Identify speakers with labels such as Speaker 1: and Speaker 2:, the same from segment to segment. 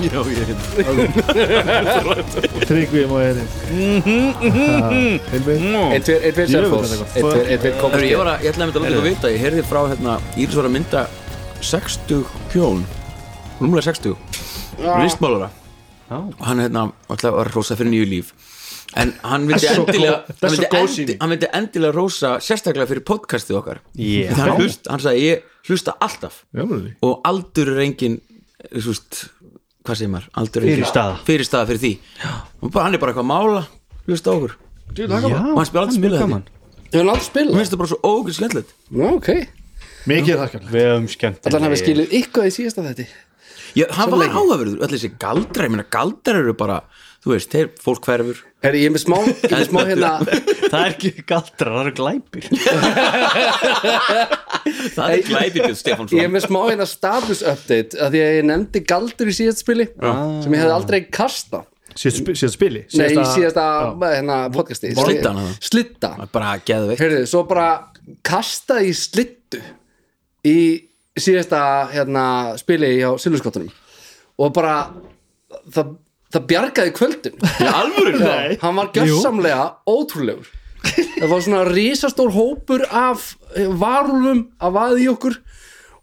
Speaker 1: Já, ég hef
Speaker 2: Tryggvi má ég hérna Hilmi
Speaker 3: Einn, tveir, einn, tveir, Selfoss
Speaker 2: Jöfull,
Speaker 3: Einn, tveir, einn, tveir,
Speaker 1: Hörru,
Speaker 3: komast
Speaker 1: ég var að, ég ætlaði að mynda að láta ykkur vita Ég heyrði frá, hérna, Íris var að mynda 60 hjón Rúmlega 60 Ristmálara Og hann, hérna, ætlaði að rosa fyrir nýju líf En hann vildi
Speaker 2: That's so
Speaker 1: endilega
Speaker 2: go- that's
Speaker 1: hann vildi,
Speaker 2: so gozy.
Speaker 1: endi, hann vildi endilega rosa sérstaklega fyrir podcastið okkar yeah. Hann, hlust, hann sagði, ég hlusta alltaf
Speaker 2: Jálfurði
Speaker 1: og aldur er engin þú veist, hvað segir maður aldur er engin-
Speaker 4: Fyrirstaða.
Speaker 1: fyrirstaða fyrir því Og bara, hann er bara eitthvað að mála hlusta á okkur
Speaker 4: Já,
Speaker 1: og hann spila aldrei spila því hérna. mér
Speaker 3: Þau er langt spila
Speaker 1: finnst það bara svo ógur skemmtilegt
Speaker 3: Nú, ok
Speaker 2: Mikið þakkar
Speaker 4: Við höfum skemmt
Speaker 3: Þannig hafi skilið eitthvað í síðasta þetta
Speaker 1: ég, hann
Speaker 3: Svo
Speaker 1: var
Speaker 3: lengi.
Speaker 1: áhafurður, allir þessi galdrar ég meina galdrar eru bara, þú veist, þeir fólk hverfur
Speaker 3: Herri, ég er með smá, ég er með smá hérna
Speaker 4: Það er ekki galdrar, það eru glæpir
Speaker 1: það er glæpið
Speaker 3: Ég er
Speaker 1: Stefánsson
Speaker 3: með smá hérna status update að Því að ég nefndi galdur í síðasta spili sem ég hefði aldrei kasta
Speaker 2: Síðan spili
Speaker 3: Nei, í
Speaker 2: Síðasta-
Speaker 3: síðasta
Speaker 2: Já.
Speaker 3: hérna, podcasti
Speaker 1: Sliddan hana.
Speaker 3: Slitta
Speaker 1: bara geðveikt
Speaker 3: Herðu, svo bara kasta í slittu í síðasta hérna, spili hjá Silvurskottunum og bara það, það bjargaði kvöldin
Speaker 1: í alvöru
Speaker 3: Já, hann var gjörsamlega ótrúlegur það var svona risastór hópur af eh, varúlfum að vaði í okkur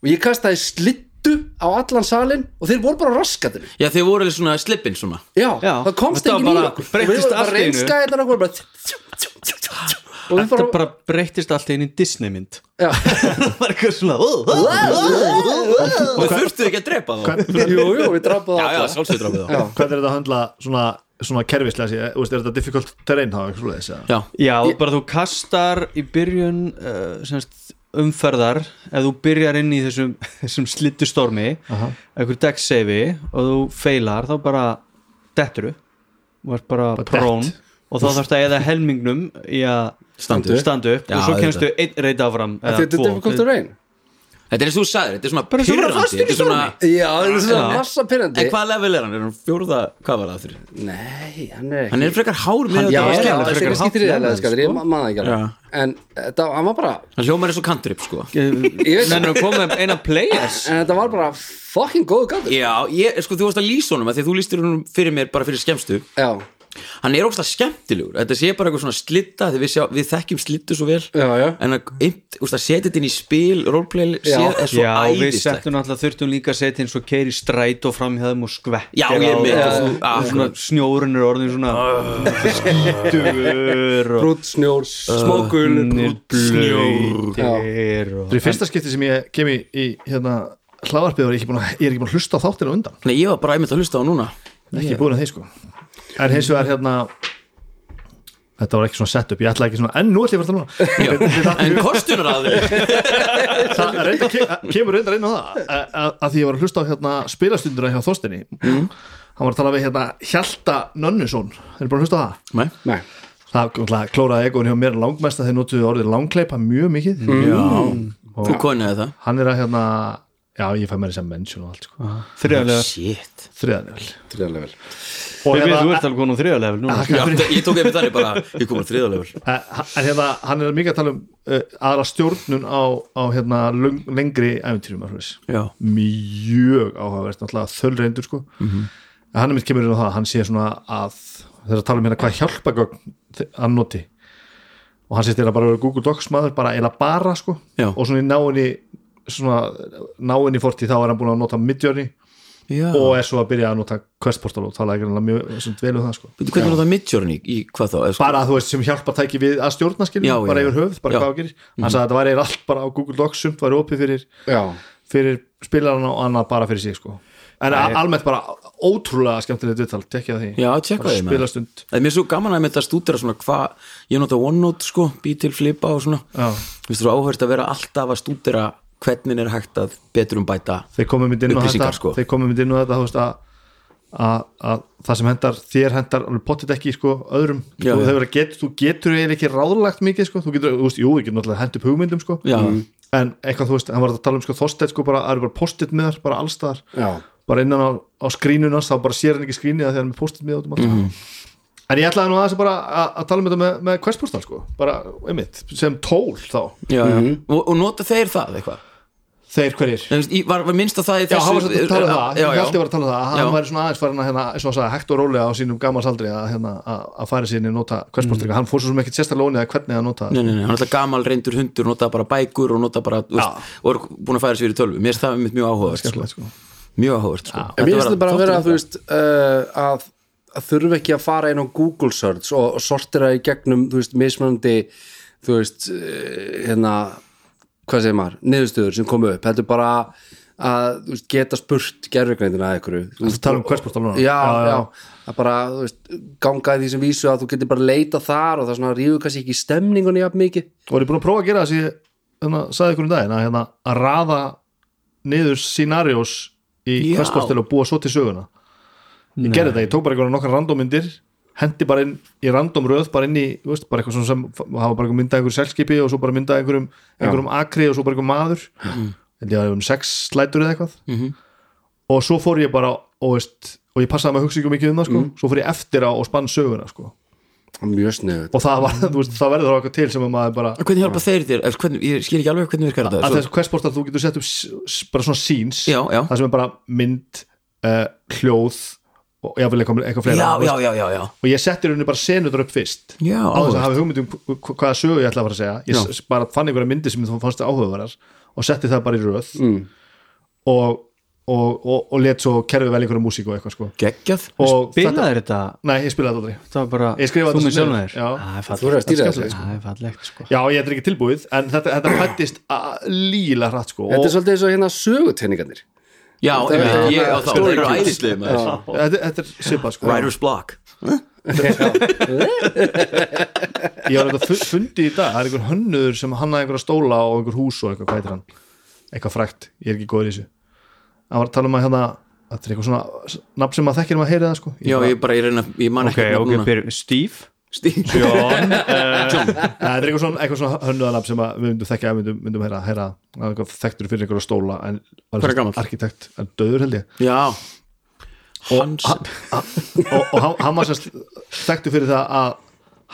Speaker 3: og ég kastaði slittu á allan salin og þeir voru bara raskatir
Speaker 1: já, þeir voru alveg svona slippin svona
Speaker 3: já,
Speaker 4: Já,
Speaker 3: það komst
Speaker 4: þetta var
Speaker 3: enginn í
Speaker 4: bara-
Speaker 3: okkur og við
Speaker 4: breyttist
Speaker 3: vorum bara
Speaker 4: allt í einu.
Speaker 3: reynskaði allan okkur bara tjú, tjú, tjú, tjú, tjú, tjú. og við
Speaker 4: Þetta
Speaker 3: bara,
Speaker 4: bara breyttist allt í einu Disneymynd
Speaker 3: já
Speaker 4: Það var eitthvað svona ó, ó.
Speaker 1: og þeir þurftu ekki að drepa þá
Speaker 3: Jú, jú, við drapaði
Speaker 1: já, já,
Speaker 3: það
Speaker 1: sjálfsveit drapið þá
Speaker 3: Já.
Speaker 2: Hvernig er þetta að handla svona svona kerfislega sér, þú veist, er þetta difficult terrain þá, eitthvað svoleiðis, eða?
Speaker 1: já,
Speaker 4: Já, bara þú kastar í byrjun uh, semst, umferðar ef þú byrjar inn í þessum, þessum slittustormi einhver deckseifi og þú feilar þá bara detturu þú ert bara,
Speaker 2: Bara
Speaker 4: prón
Speaker 2: dett.
Speaker 4: og þá þarfst að eða helmingnum í að
Speaker 1: Standa upp.
Speaker 4: standa upp
Speaker 1: Já,
Speaker 4: og svo
Speaker 1: auðvitað.
Speaker 4: kemstu einn reynd áfram eða
Speaker 3: Þetta er
Speaker 4: tvo.
Speaker 3: difficult to rain
Speaker 1: þetta er eins og þú sagðir, þetta er svona
Speaker 4: Bara eins og vera
Speaker 1: pirrandi
Speaker 4: fastur í
Speaker 1: þetta er svona,
Speaker 3: Já, þetta er svona
Speaker 4: Já.
Speaker 3: massa pyrrandi
Speaker 1: en hvað level er hann, er hann fjórða hvað var það aftur,
Speaker 3: Nei, hann er ekki
Speaker 1: hann er frekar hár með
Speaker 3: Já,
Speaker 1: þetta
Speaker 3: það er
Speaker 4: frekar
Speaker 3: ekki
Speaker 4: hátt
Speaker 3: þriðalega
Speaker 4: level,
Speaker 3: skattir, ég maður það ekki
Speaker 1: Já.
Speaker 3: alveg En þetta, hann var bara
Speaker 1: hann hljómar eins og kantrip sko
Speaker 3: Ég veit
Speaker 4: Nennir að koma með eina players
Speaker 3: En þetta var bara fucking góðu skattir
Speaker 1: Já, ég, sko, þú varst að lýsa honum að því að þú lýstir honum fyrir mér bara fyrir skemmstu
Speaker 3: Já,
Speaker 1: hann er ógstlega skemmtilegur, þetta sé bara eitthvað svona slitta því við, sjá, við þekkjum slittu svo vel
Speaker 3: já, já
Speaker 1: en að, imp, úst, að setja þetta inn í spil roleplay sé,
Speaker 3: Já.
Speaker 1: er svo
Speaker 4: Já, við
Speaker 1: æðislegt
Speaker 4: settum náttúrulega þurftum líka að setja eins og keiri stræt og framhjæðum og skvett
Speaker 1: Já, ég er með, þú-
Speaker 4: svona,
Speaker 1: akkurat.
Speaker 4: Snjórun er orðin svona Skittur og
Speaker 3: Brútt snjór, smókul
Speaker 4: Snjórtir og
Speaker 2: Þetta er í fyrsta skipti sem ég kem í, í hérna hlaðarpið og ég er ekki búin að, ég er ekki búin að hlusta á þáttina á undan
Speaker 1: Nei, ég var bara æmint að hlusta á hann núna
Speaker 2: ekki yeah. búin að þeir sko en hins vegar hérna þetta var ekki svona setup, ég ætla ekki svona en nú ætla ég að fara það
Speaker 1: en
Speaker 2: núna
Speaker 1: kostunar að þig
Speaker 2: það reynda, ke- kemur reyndar inn á það að, að, að því ég var að hlusta á hérna spilastunduna hjá Þorstinni hann var að tala við hérna Hjalta Nönnuson þeir eru búin að hlusta á það
Speaker 1: Nei,
Speaker 3: Nei,
Speaker 2: það náttúrulega klóraði egoin hjá mér langmest að þeir notuðu orðið langkleipa mjög mikið
Speaker 1: þú konið það
Speaker 2: hann er að hérna já ég fæ mér þess að mention og allt sko.
Speaker 4: þriðalega
Speaker 1: Shit
Speaker 2: þriðanlevel
Speaker 3: þriðalega vel
Speaker 2: og
Speaker 4: Við við, þú
Speaker 2: hérna,
Speaker 4: ert alveg konum þriðalega núna
Speaker 1: Já, ég tók einmitt þannig bara, ég kom að þriðalegur
Speaker 2: Eh, en hérna, hann er mikið að tala um uh, aðra stjórnun á, á hérna, löng, lengri æfintýrum
Speaker 1: Já,
Speaker 2: mjög áhugavert náttúrulega þölreindur sko en hann er mitt kemur inn á það, hann sé svona að þegar að tala um hérna hvað hjálpagögn þi- hann noti og hann sést þeirra bara að vera Google Docs maður bara eila bara sko
Speaker 1: Já.
Speaker 2: og svona í náinni svona náinni fortíð þá er hann búin að nota Midjourney
Speaker 1: já
Speaker 2: og er svo að byrja að nota Quest Portal og tala ekki mjög sem dvelum það sko
Speaker 1: Veitu, Hvernig var það midjourney í hvað þá? Eða sko-
Speaker 2: bara að þú veist sem hjálpa tæki við að stjórna skiljum,
Speaker 1: Já,
Speaker 2: bara
Speaker 1: já.
Speaker 2: yfir höfuð, bara
Speaker 1: Já. Mhm.
Speaker 2: hvað það gerir hann sagði að þetta væri eiginlega allt bara á Google Docs sumt væri opið fyrir,
Speaker 3: Já,
Speaker 2: fyrir spilarana og annað bara fyrir sig sko en Nei. almennt bara ótrúlega skemmtilegt viðtal, tekja því
Speaker 1: Já, tjekka
Speaker 2: Bara
Speaker 1: því, maður.
Speaker 2: spilastund
Speaker 1: Það er mér svo gaman að mitt að stúdera svona hvað, ég nota OneNote sko, bý til flipa og svona
Speaker 2: Já.
Speaker 1: Vistu svo áhverst að vera alltaf að stúdera hvernig er hægt að betrum bæta
Speaker 2: þeir komum mynd inn á þetta,
Speaker 1: Upplýsingar, sko.
Speaker 2: þeir komum mynd inn á þetta þú veist, að, að, að það sem hendar þér hendar alveg pottit ekki sko, öðrum
Speaker 1: Já,
Speaker 2: þú,
Speaker 1: já.
Speaker 2: hefur að get, þú getur eiginlega ekki ráðlagt mikið sko. þú getur, þú veist, jú, ég getur náttúrulega hendur upp hugmyndum sko.
Speaker 1: Já. Mhm.
Speaker 2: en eitthvað, þú veist, hann var að tala um sko, þorstætt, sko, bara, það eru bara postit með þar, bara allstaðar
Speaker 3: Já.
Speaker 2: bara innan á, á skrínunars þá bara sér hann ekki skrínið þegar hann er með postit með út um allt mm
Speaker 1: Mhm.
Speaker 2: en ég ætlaði nú aðeins að bara að, að tala um þetta með, með questpostal sko, bara, einmitt, sem tól þá,
Speaker 1: já, já. Og, og nota þeir það eitthvað
Speaker 2: þeir hverjir
Speaker 1: Nei, veist, í- var, var minnst að það í
Speaker 2: Já,
Speaker 1: þessu
Speaker 2: hann var svolítið að tala um það,
Speaker 1: já,
Speaker 2: ég held
Speaker 1: já.
Speaker 2: ég var að tala um það að hann
Speaker 1: Já.
Speaker 2: væri svona aðeins farin að hérna, eins og hann sagði, hægt og rólega á sínum gamals aldri að, hérna, að, að fara sér inn í nota hversbólstrykka, hann fór svo sem ekkert sérstaklega ónið að hvernig að nota það.
Speaker 1: Mm. Nei, nei, nei, hann er alltaf gamal reyndur hundur nota bara bækur og nota bara þú veist, og er búin að færa sér í tölvu mér er það einmitt mjög áhugavert sko.
Speaker 2: skemmtilegt sko.
Speaker 1: mjög áhugavert sko.
Speaker 3: En mér finnst
Speaker 1: var
Speaker 3: þetta bara að vera
Speaker 1: þátturinn.
Speaker 3: þú veist, uh, að, að þurfa ekki að fara inn á Google search og, og sortira í gegnum þú veist, mismunandi þú veist, uh, hérna hvað segir maður, niðurstöður sem komu upp þetta er bara að þú veist, geta spurt gerfegreindina að ykkur
Speaker 2: Þú tala um hversbólstrykka núna?
Speaker 3: já, já, að bara þú veist, ganga að því sem vísu að þú getur bara leita þar og það svona ríður kannski ekki stemningunni jafn mikið
Speaker 2: Og er ég búin að prófa að gera þessi, þannig að sagði ykkur um daginn, að, hérna, að raða niður scenarios í
Speaker 1: Já.
Speaker 2: hversbólstrykka og búa svo til söguna. Ég gerði þetta, ég tók bara einhverja nokkar randommyndir, hendi bara inn í random röð, bara inn í, þú veist, bara eitthvað svona sem hafa bara myndað einhverjum selskipi og svo bara myndað einhverjum, einhverjum akri og svo bara einhverjum maður. held ég að það er um sex slætur eða eitthvað og svo fór ég bara og, veist, og ég passaði með að hugsa ekki mikið um það sko. svo fór ég eftir á og spann söguna sko.
Speaker 3: mjög sniðut
Speaker 2: og það, var, þú veist, það verður okkur til sem að maður bara
Speaker 1: En hvernig hjálpa þeir þér, Eða hvernig, ég skil ekki alveg hvernig virkar þetta
Speaker 2: að sko-
Speaker 1: Svo-
Speaker 2: þess questportal þú getur sett upp s- s- bara svona scenes
Speaker 1: Já, já.
Speaker 2: það sem er bara mynd, uh, hljóð og ég vil eitthvað, eitthvað fleira
Speaker 1: já,
Speaker 2: þú veist.
Speaker 1: já, já, já, já
Speaker 2: og ég setti rauninni bara senutur upp fyrst
Speaker 1: Já,
Speaker 2: á þess að
Speaker 1: áhugavert.
Speaker 2: hafa hugmyndum hvaða sögu ég ætla að fara að segja ég s- bara fann einhverja myndi sem þú fannst áhugaverðar og setti það bara í röð mm. og, og, og, og let svo kerfi vel einhverja músík og eitthvað sko
Speaker 1: geggjað
Speaker 2: og
Speaker 4: Bilaði þetta,
Speaker 2: nei, ég spilaði þetta aldrei
Speaker 4: þetta var bara
Speaker 2: Ég
Speaker 4: þú
Speaker 2: skrifaði þetta
Speaker 4: með
Speaker 2: svona
Speaker 4: sjálfum þér
Speaker 2: niður, já.
Speaker 4: Það er
Speaker 3: þú eru að
Speaker 4: fallegt
Speaker 3: stýra þessu
Speaker 4: Það er fallegt sko
Speaker 2: já, ég er ekki tilbúið, en þetta, þetta pættist líla hratt sko
Speaker 3: þetta er
Speaker 2: og
Speaker 3: svolítið eins og hérna sögutenningarnir
Speaker 1: Já,
Speaker 3: Það-
Speaker 1: einmitt,
Speaker 3: það-
Speaker 1: ég á þá,
Speaker 3: story
Speaker 1: þeir eru
Speaker 3: kills.
Speaker 1: æðislega maður
Speaker 2: þetta, þetta er svipað sko
Speaker 1: Writer's block
Speaker 2: ég var þetta fundið í dag, það er einhver hönnur sem hannaði einhverja stóla og einhver hús og eitthvað, hvað heitir hann eitthvað frækt, ég er ekki góður í þessu hann var að tala um að hérna þetta er eitthvað svona nafn sem maður þekkir um að heyra það sko
Speaker 1: Já, ég bara, ég reyna, ég man
Speaker 4: Ok,
Speaker 1: ekki
Speaker 4: ok,
Speaker 1: núna.
Speaker 4: byrjum, Steve
Speaker 1: Stíl.
Speaker 2: Nei, þetta er eitthvað svona, eitthvað svona hönnuðanab sem að við myndum þekkja að myndum, myndum heyra, heyra hann var eitthvað þekktur fyrir einhverja stóla en
Speaker 1: Hvað
Speaker 2: var
Speaker 1: er gamall?
Speaker 2: arkitekt, en döður held ég
Speaker 1: Já Hans
Speaker 2: og, og hann, hann var sérst þekktu fyrir það að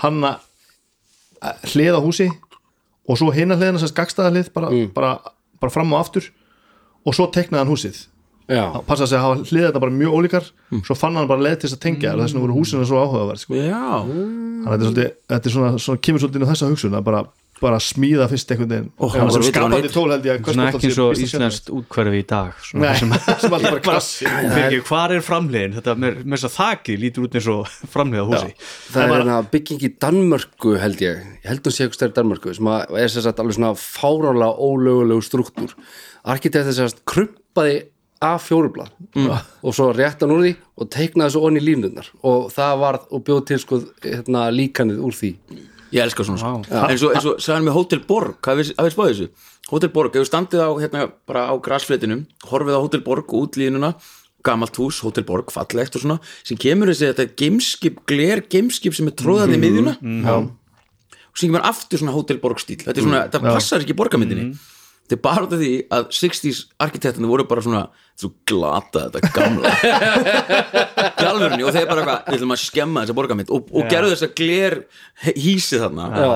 Speaker 2: hanna eh, hliða húsi og svo hinna hliðina sérst gagstaða hlið bara, bara, bara fram og aftur og svo teknaði hann húsið
Speaker 3: já,
Speaker 2: hann passaði sig að hafa hliða þetta bara mjög ólíkar svo fann hann bara leið til þess að tengja mm. þess vegna voru húsina svo áhugaverð sko.
Speaker 1: Já,
Speaker 2: Þannig að þetta er svolítið, þetta er svona, svona kemur svolítið inn á þessa hugsun að bara, bara smíða fyrst einhvern veginn
Speaker 1: Ó, hann
Speaker 2: Já,
Speaker 1: var
Speaker 2: sem
Speaker 1: vitur á
Speaker 2: skapandi
Speaker 1: net.
Speaker 2: tól held ég að
Speaker 4: Svona
Speaker 2: Questbottle
Speaker 4: ekki
Speaker 2: sé
Speaker 4: eins og
Speaker 2: býsna
Speaker 4: íslenskt útkverfi í dag svona.
Speaker 2: Nei, sem alltaf bara klassi
Speaker 4: Fyrir, hvar er framliðin? Þetta með með þess að þaki lítur út eins og framliða húsi
Speaker 3: það er hérna bygging í Danmörku held ég, ég held hún sé eitthvað stærri Danmörku sem að er sér sagt alveg svona fáránlega ólögulegu struktúr arkitektur sér sagt krumpaði af fjórublað og svo réttan úr því og teiknaði svo onni línunar og það varð og bjóð til sko hérna, líkanið úr því
Speaker 1: ég elska svona wow. En svo, en svo sagði hann með Hotel Borg Hafið hafið spáðið þessu? Hotel Borg, ef þú standið á hérna bara á grasfletinum horfið á Hotel Borg og útlínuna gamalt hús, Hotel Borg, fallegt og svona sem kemur þessi þetta gameskip gler gameskip sem er tróðað í miðjuna og sem kemur aftur svona Hotel Borg stíl þetta er svona, það passar ekki í borgarmyndinni þetta er bara út af því að 60s arkitektinu voru bara svona, þú glata þetta gamla galvurni og þeir bara eitthvað, við ætlum að skemma þessa borgarmynd og, og gerðu þess að gler hísi þarna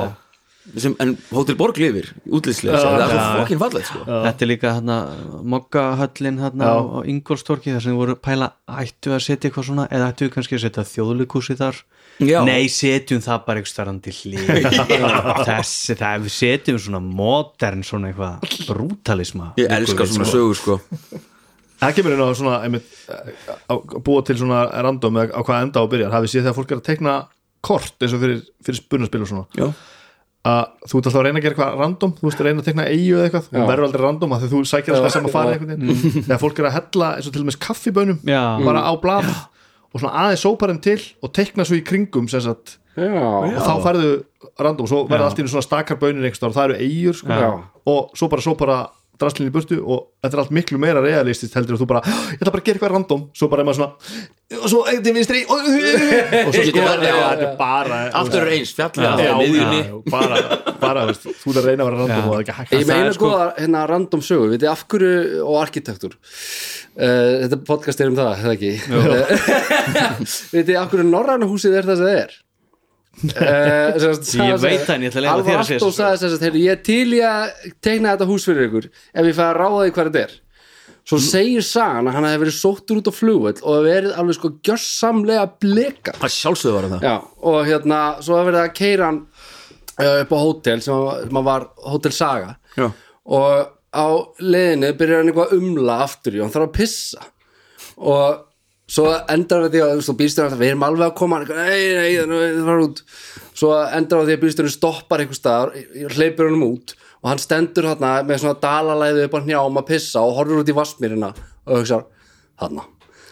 Speaker 1: sem, en Hotel Borg lifir útlýslega, það er svo fokkin fallegt sko.
Speaker 4: Þetta er líka hérna mokkahöllin hérna á á Ingolstorki þar sem þið voru að pæla ættu að setja eitthvað svona eða ættu kannski að setja þjóðleikúsi þar
Speaker 1: Já.
Speaker 4: Nei, setjum það bara eitthvað starrandi hlið Þessi, það við setjum svona modern svona eitthvað brutalisma
Speaker 1: ég elska svona sögur sko.
Speaker 2: Það kemur inn á svona einmitt, á, á- búa til svona random eða á hvað enda og byrjar hafið séð þegar fólk er að tekna kort eins og fyrir, fyrir spunaspil og svona
Speaker 1: Já.
Speaker 2: að þú ert alltaf að reyna að gera eitthvað random þú veist að reyna að tekna eigu eða eitthvað og
Speaker 3: Já.
Speaker 2: verður aldrei random að því þú sækir alltaf
Speaker 3: Já. Mm.
Speaker 2: saman farið einhvern veginn þegar fólk er að hella eins og til og með kaffibönum
Speaker 4: Já.
Speaker 2: bara á blad og svona aðeins sópar þeim til og tekna svo í kringum sem sagt,
Speaker 3: já,
Speaker 2: og þá færðu random og svo verður allt í einu svona stakar bönir einhvers staðar og það eru eigur sko,
Speaker 3: Já.
Speaker 2: og svo bara sópar að draslinni í burtu og þetta er allt miklu meira realistist heldur og þú bara, "Ah, ég ætla bara að gera eitthvað random svo bara er maður svona og svo eitthvað vinstri og, og svo
Speaker 1: Getur
Speaker 2: bara,
Speaker 1: verið,
Speaker 2: já,
Speaker 1: já.
Speaker 2: þetta er bara
Speaker 1: Allt verður eins, fjallið að
Speaker 2: Já,
Speaker 1: það miðjunni
Speaker 2: já, bara, bara veist, þú ert að reyna að vera random og það er ekki hægt
Speaker 3: Ég
Speaker 4: Það
Speaker 3: meina
Speaker 4: er
Speaker 3: sko, góða hérna random sögur, veit ég af hverju og arkitektur uh, Þetta podcast er um það, hefði ekki Veit ég af hverju norræna húsið er það sem það er uh, semast,
Speaker 4: Ég veit það, en ég ætla að leyfa þér að segja
Speaker 3: Alvar Attó
Speaker 4: þessu.
Speaker 3: sagði þess að ég er til í að tekna þetta hús fyrir ykkur ef ég fæ að ráða því hvað þetta er Svo segir sagan að hann hefði verið sóttur út á flugvöll og hefði verið alveg sko gjörsamlega blekað
Speaker 1: Það sjálfsögðu var það
Speaker 3: Já, og hérna, svo að verið að keira hann eh, upp á hótel sem, hann- sem hann var Hótel Saga
Speaker 1: Já.
Speaker 3: og á leiðinu byrjar hann eitthvað að umla aftur í og hann þarf að pissa og svo endar við því að svo bílstjórn alltaf, við erum alveg að koma hann eitthvað, nei, nei, þannig að það var út svo endar við því að bílstjórn stoppar einhver staðar, hleypir honum út og hann stendur þarna með svona dalalæðu upp á hnjám að pissa og horfur út í vassmýrina og hugsar, þarna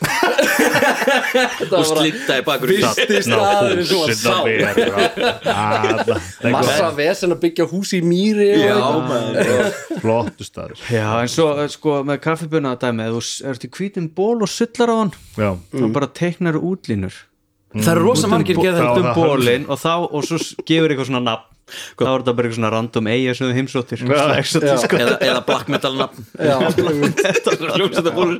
Speaker 3: Þetta
Speaker 1: Og
Speaker 3: var bara-
Speaker 1: slítaði bakur
Speaker 3: Fyrsti staðurinn sem var sá Massa vesen að byggja hús í mýri og
Speaker 1: Já,
Speaker 3: eitthvað.
Speaker 1: maður
Speaker 2: flottu staður
Speaker 4: Já, en svo eh, sko með kaffibunna dæmi, ef þú s- ert í hvítum ból og sullar á hann,
Speaker 2: já,
Speaker 4: þá bara teiknar útlínur
Speaker 1: Það eru rosa margir
Speaker 2: bo-
Speaker 1: gerð
Speaker 2: Já,
Speaker 4: út um
Speaker 2: það-
Speaker 4: bólinn og þá, og svo s- gefur eitthvað svona nafn þá er þetta bara eitthvað svona random eiga sem þú heimsóttir Svona exotísk.
Speaker 1: eða, eða black metal nafn Hljómsæta bólur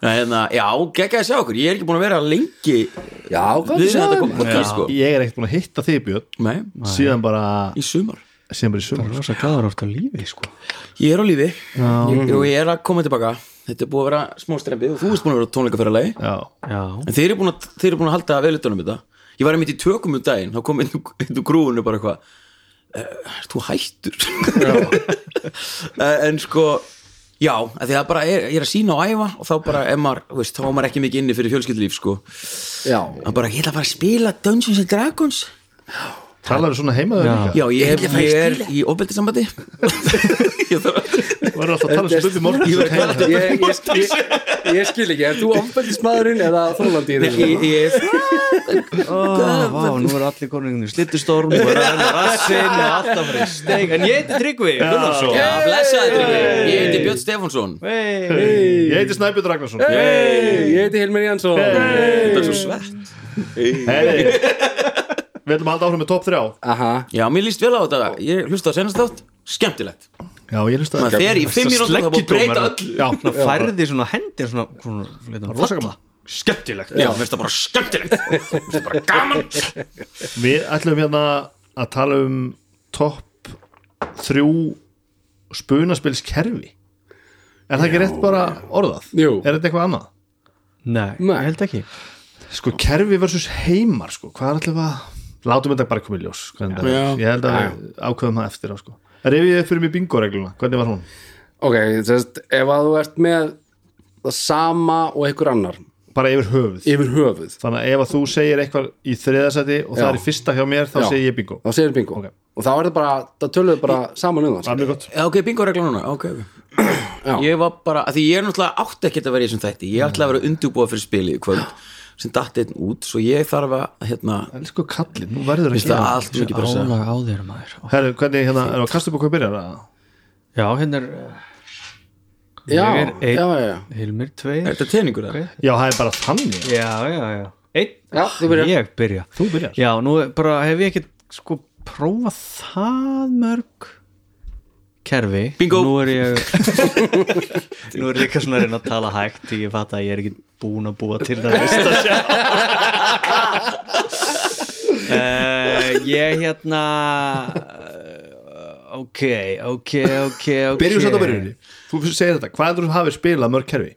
Speaker 1: Já, hérna, já, geggja að sjá okkur Ég er ekki búin að vera lengi
Speaker 3: Já, hvað
Speaker 1: Við
Speaker 3: það
Speaker 1: þetta kom
Speaker 3: séðum
Speaker 1: podcast sko
Speaker 2: ég er ekkert búin að hitta þig Björn
Speaker 1: Nei,
Speaker 2: síðan bara,
Speaker 1: í sumar
Speaker 2: síðan bara í sumar
Speaker 4: Rosa glæður oft á lífi sko
Speaker 1: Ég er á lífi Ég- og ég er að koma tilbaka Þetta er búið að vera smá strempið og þú ert búin að vera tónleikaferðalagi
Speaker 2: já,
Speaker 4: Já,
Speaker 1: En þeir eru búin að, þeir eru búin að halda velitunum þetta Ég var einmitt í tökum um daginn þá kom inn úr- inn úr grúinu bara eitthvað "Eh, Ert þú hættur? Eh, en sko Já, af því það bara er, ég er að sína og æfa og þá bara er maður, þú veist, þá er maður ekki mikið inni fyrir fjölskyldulíf sko,
Speaker 3: Já,
Speaker 1: hann bara, ég ætla að fara að spila Dungeons and Dragons
Speaker 2: talaðu um svona heimaður líka
Speaker 1: Já, ég, ég, er í ofbeldisambandi Ég þarf að
Speaker 2: verður alltaf að tala
Speaker 3: Þetta-
Speaker 2: svona um morgun
Speaker 1: Ég verð
Speaker 2: heima.
Speaker 3: ég, ég, ég, ég skil ekki, er þú ofbeldismadurinn eða þólandi í
Speaker 1: Nei,
Speaker 3: þessu?
Speaker 1: ég, ég
Speaker 4: Ó, vá, nú er allir konunginu slittustorm og er að verða rassin og alltaf fyrir steik en ég heiti Tryggvi
Speaker 1: um
Speaker 4: Gunnarsson
Speaker 1: Já, blessaði Tryggvi Ég heiti Björn Stefánsson
Speaker 4: Hey.
Speaker 2: ég heiti Snæbjörn Ragnarsson
Speaker 3: Hey, ég heiti Hilmir Jansson
Speaker 1: Þetta er svo svett
Speaker 2: Hey. við ætlum að halda áfram með top 3
Speaker 3: Aha,
Speaker 1: Já, mér líst vel á þetta Ég hlusta á senast þátt Skemmtilegt
Speaker 2: já, ég hlusta
Speaker 1: Maður fer í fimm mínútur og það er búið að breyta
Speaker 4: Sleggjudómar.
Speaker 1: öllu
Speaker 2: já,
Speaker 4: Svona færði svona hendir svona, svona, svona
Speaker 2: rosa gaman.
Speaker 4: Skemmtilegt
Speaker 1: Já, mér finnst það bara skemmtilegt Mér finnst það bara gaman
Speaker 2: við ætlum hérna að tala um top 3 spunaspilskerfi er það ekki rétt bara orðað?
Speaker 3: Jú.
Speaker 2: er þetta eitthvað annað?
Speaker 4: Nei,
Speaker 3: Nei.
Speaker 4: ég held ekki
Speaker 2: sko kerfi versus heimar sko. hvað er allir að látum þetta bara koma í ljós hvernig
Speaker 1: Já.
Speaker 2: þetta er. ég held að við ákveðum það eftir á sko reyfið þið fyrir mig bingo-regluna, hvernig var hún?
Speaker 3: ok, þess, ef að þú ert með það sama og einhver annar
Speaker 2: bara yfir höfuð
Speaker 3: yfir höfuð,
Speaker 2: þannig að ef að þú segir eitthvað í þriðasæti og það
Speaker 3: Já.
Speaker 2: er í fyrsta hjá mér, þá
Speaker 3: Já.
Speaker 2: segir ég bingo
Speaker 3: þá segir bingo
Speaker 2: Ok.
Speaker 3: og þá er það bara, það töluðu bara saman um það
Speaker 2: það er mjög gott
Speaker 1: Já, ok, bingo regla núna Ok, ok
Speaker 3: Já.
Speaker 1: Ég var bara, af því ég er náttúrulega átti ekkert að vera í þessum þætti Ég ætla að vera undurbúa fyrir spili í kvöld sem datt einn út, svo ég þarf að hérna,
Speaker 2: elsku kallin, nú verður
Speaker 1: finnst
Speaker 2: ekki
Speaker 1: það allt mikið bara að segja
Speaker 4: Álag á þér maður
Speaker 2: Herru, hvernig hérna, er það að kasta upp hvað byrjar að
Speaker 4: Já, hérna er uh,
Speaker 3: Já,
Speaker 4: Ég er einn.
Speaker 3: já, já, já
Speaker 4: Hilmir
Speaker 1: Er
Speaker 4: 2
Speaker 1: þetta teiningur það?
Speaker 2: já, það er bara þannig,
Speaker 4: Já, já, já Einn
Speaker 3: Já, þú byrjar.
Speaker 4: Ég byrja
Speaker 2: þú byrjar
Speaker 4: Já, nú er bara hef ég ekkert sko prófað það mörg kerfi
Speaker 1: Bingo.
Speaker 4: Nú er ég Nú er ég eitthvað svona að reyna að tala hægt því ég fatt að ég er ekki búin að búa til það lista sjá uh, Ég hérna eh, Ok, ok, ok, ok
Speaker 2: byrjum satt á byrjunni, þú segir þetta hvað heldur þú hafið spilað mörg kerfi?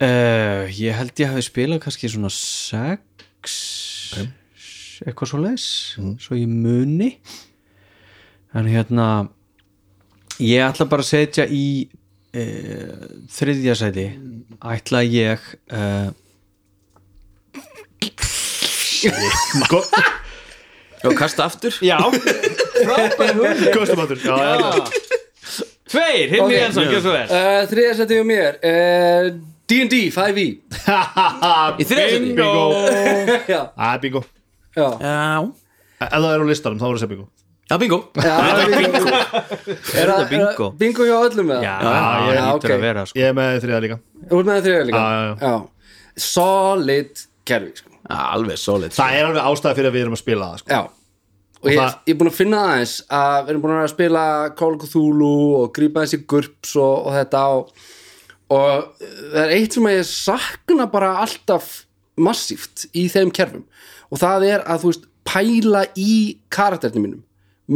Speaker 4: Eh, ég held ég hafi spilað kannski svona sex eitthvað svo leis
Speaker 3: Mm.
Speaker 4: svo ég muni en hérna ég ætla bara að setja í uh, þriðja sæti ætla ég eh, uh,
Speaker 2: Go-
Speaker 1: og kasta aftur
Speaker 4: Já, frábær hugmynd
Speaker 2: Kostum aftur Já, já, já.
Speaker 4: Tveir, hinn
Speaker 3: Ok.
Speaker 4: í Jensson, gjör svo vel
Speaker 3: uh, Þriða seti hjá mér uh, D&D 5e
Speaker 1: í þriðasöndi
Speaker 2: Bingo
Speaker 3: Já,
Speaker 2: Það er bingo
Speaker 3: já
Speaker 1: Já,
Speaker 2: Ef það er á listanum þá er það sem bingo
Speaker 1: já bingo
Speaker 3: Já, það er bingo Er
Speaker 4: þetta bingo?
Speaker 3: Bingo hjá öllum með
Speaker 4: Já,
Speaker 3: það?
Speaker 4: það
Speaker 3: já,
Speaker 4: lítur
Speaker 3: ok.
Speaker 4: að vera sko.
Speaker 2: Ég er með þriða líka
Speaker 3: Þú ert með það þriða líka?
Speaker 2: Já, já,
Speaker 3: já. Solid kerfi, sko.
Speaker 1: Já, Alveg solid
Speaker 2: Það er alveg ástæða fyrir að við erum að spila það sko.
Speaker 3: Já Og ég,
Speaker 2: það-
Speaker 3: ég er búin að finna það aðeins að við erum búin að spila Call of Cthulhu og grípa þessi GURPS og, og þetta og, og eh, það er eitt sem að ég sakna bara alltaf massíft í þeim kerfum og það er að þú veist pæla í karakternum mínum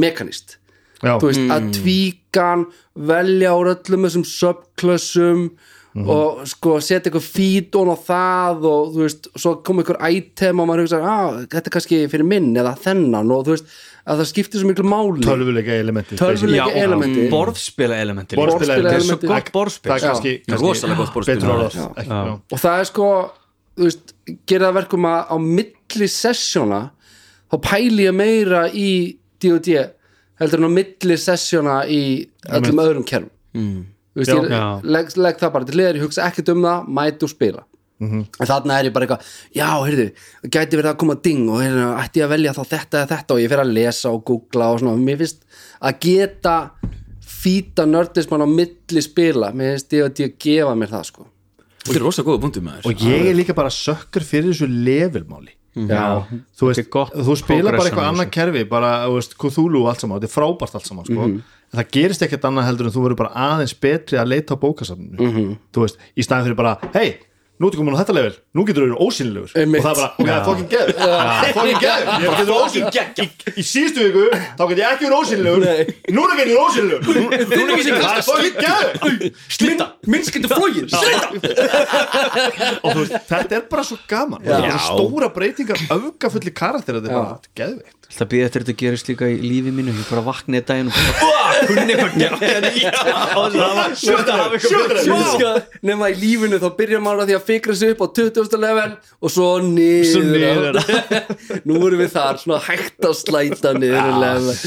Speaker 3: mekanist
Speaker 2: Já,
Speaker 3: þú veist, að tvíkan velja úr öllum þessum subklössum og sko setja eitthvað fítón á það og þú veist, svo kom eitthvað item og maður hugsa, að þetta er kannski fyrir minn eða þennan og þú veist, að það skiptir svo miklu máli
Speaker 2: tölvuleika elementi
Speaker 3: Tölvuleika-
Speaker 4: Já,
Speaker 3: elementi.
Speaker 4: og borðspila elementi líka.
Speaker 2: Borðspila
Speaker 4: Þetta er svo
Speaker 3: elementi.
Speaker 4: gott borðspil
Speaker 2: Það er kannski,
Speaker 1: Já,
Speaker 2: kannski
Speaker 1: rosalega gott borðspil.
Speaker 2: Betur orðað
Speaker 3: Já.
Speaker 2: Ekki- já.
Speaker 3: og það er sko, þú veist, gera það verkum að á milli sessjóna þá pæli ég meira í D&D heldur en á milli sessjóna í öllum öðrum kerfum Þú veist,
Speaker 2: Já.
Speaker 3: ég
Speaker 4: Já.
Speaker 3: legg, legg það bara til hliðar, ég hugsa ekkert um það, mæti og spila en þarna er ég bara eitthvað já, heyrðu, gæti verið að koma ding og heyrðu, ætti ég að velja þá þetta eða þetta og ég fer að lesa og googla og svona mér finnst að geta fýta nördismann á milli spila mér finnst ég að ég gefa mér það sko
Speaker 1: Þetta er rosa góða punktum með
Speaker 2: Og ég er líka bara sökkur fyrir þessu levelmáli
Speaker 3: já,
Speaker 2: þú, veist,
Speaker 4: Þetta er gott
Speaker 2: þú spilar bara
Speaker 4: progression
Speaker 2: eitthvað
Speaker 4: á
Speaker 2: annað kerfi bara, þú veist, Cthulhu og allt saman, þetta er frábært allt saman sko. en það gerist ekkert annað heldur en þú verður bara aðeins betri að leita á bókasafninu þú veist, í staðin fyrir bara, hei nú ertu komin á þetta level, nú getur þú verið ósynlegur
Speaker 3: Einmitt.
Speaker 2: og það er bara, ok, það er fucking geð það er fucking geð, ég getur verið ósynlegur í, í síðustu viku, þá get ég ekki verið ósynlegur
Speaker 3: Nei.
Speaker 2: núna get ég verið ósynlegur
Speaker 3: Núna get ég
Speaker 2: það er fucking geð
Speaker 3: slita, minn getur flógin slita
Speaker 2: og þú veist, þetta er bara svo gaman Og þetta eru stóra breytingar, öfgafulli karakter þetta er bara, þetta er geðveikt
Speaker 4: Það býði eftir þetta gerist líka í lífi mínu Ég bara vaknaði einn daginn og bara Kunni hvað gerði Sjóta hafa eitthvað
Speaker 3: Sjúka, nema í lífinu þá byrjar maður á því að fikra sig upp á 20. level og svo niður,
Speaker 2: Svo niður.
Speaker 3: nú erum við þar, svona hægt að slæta niður í level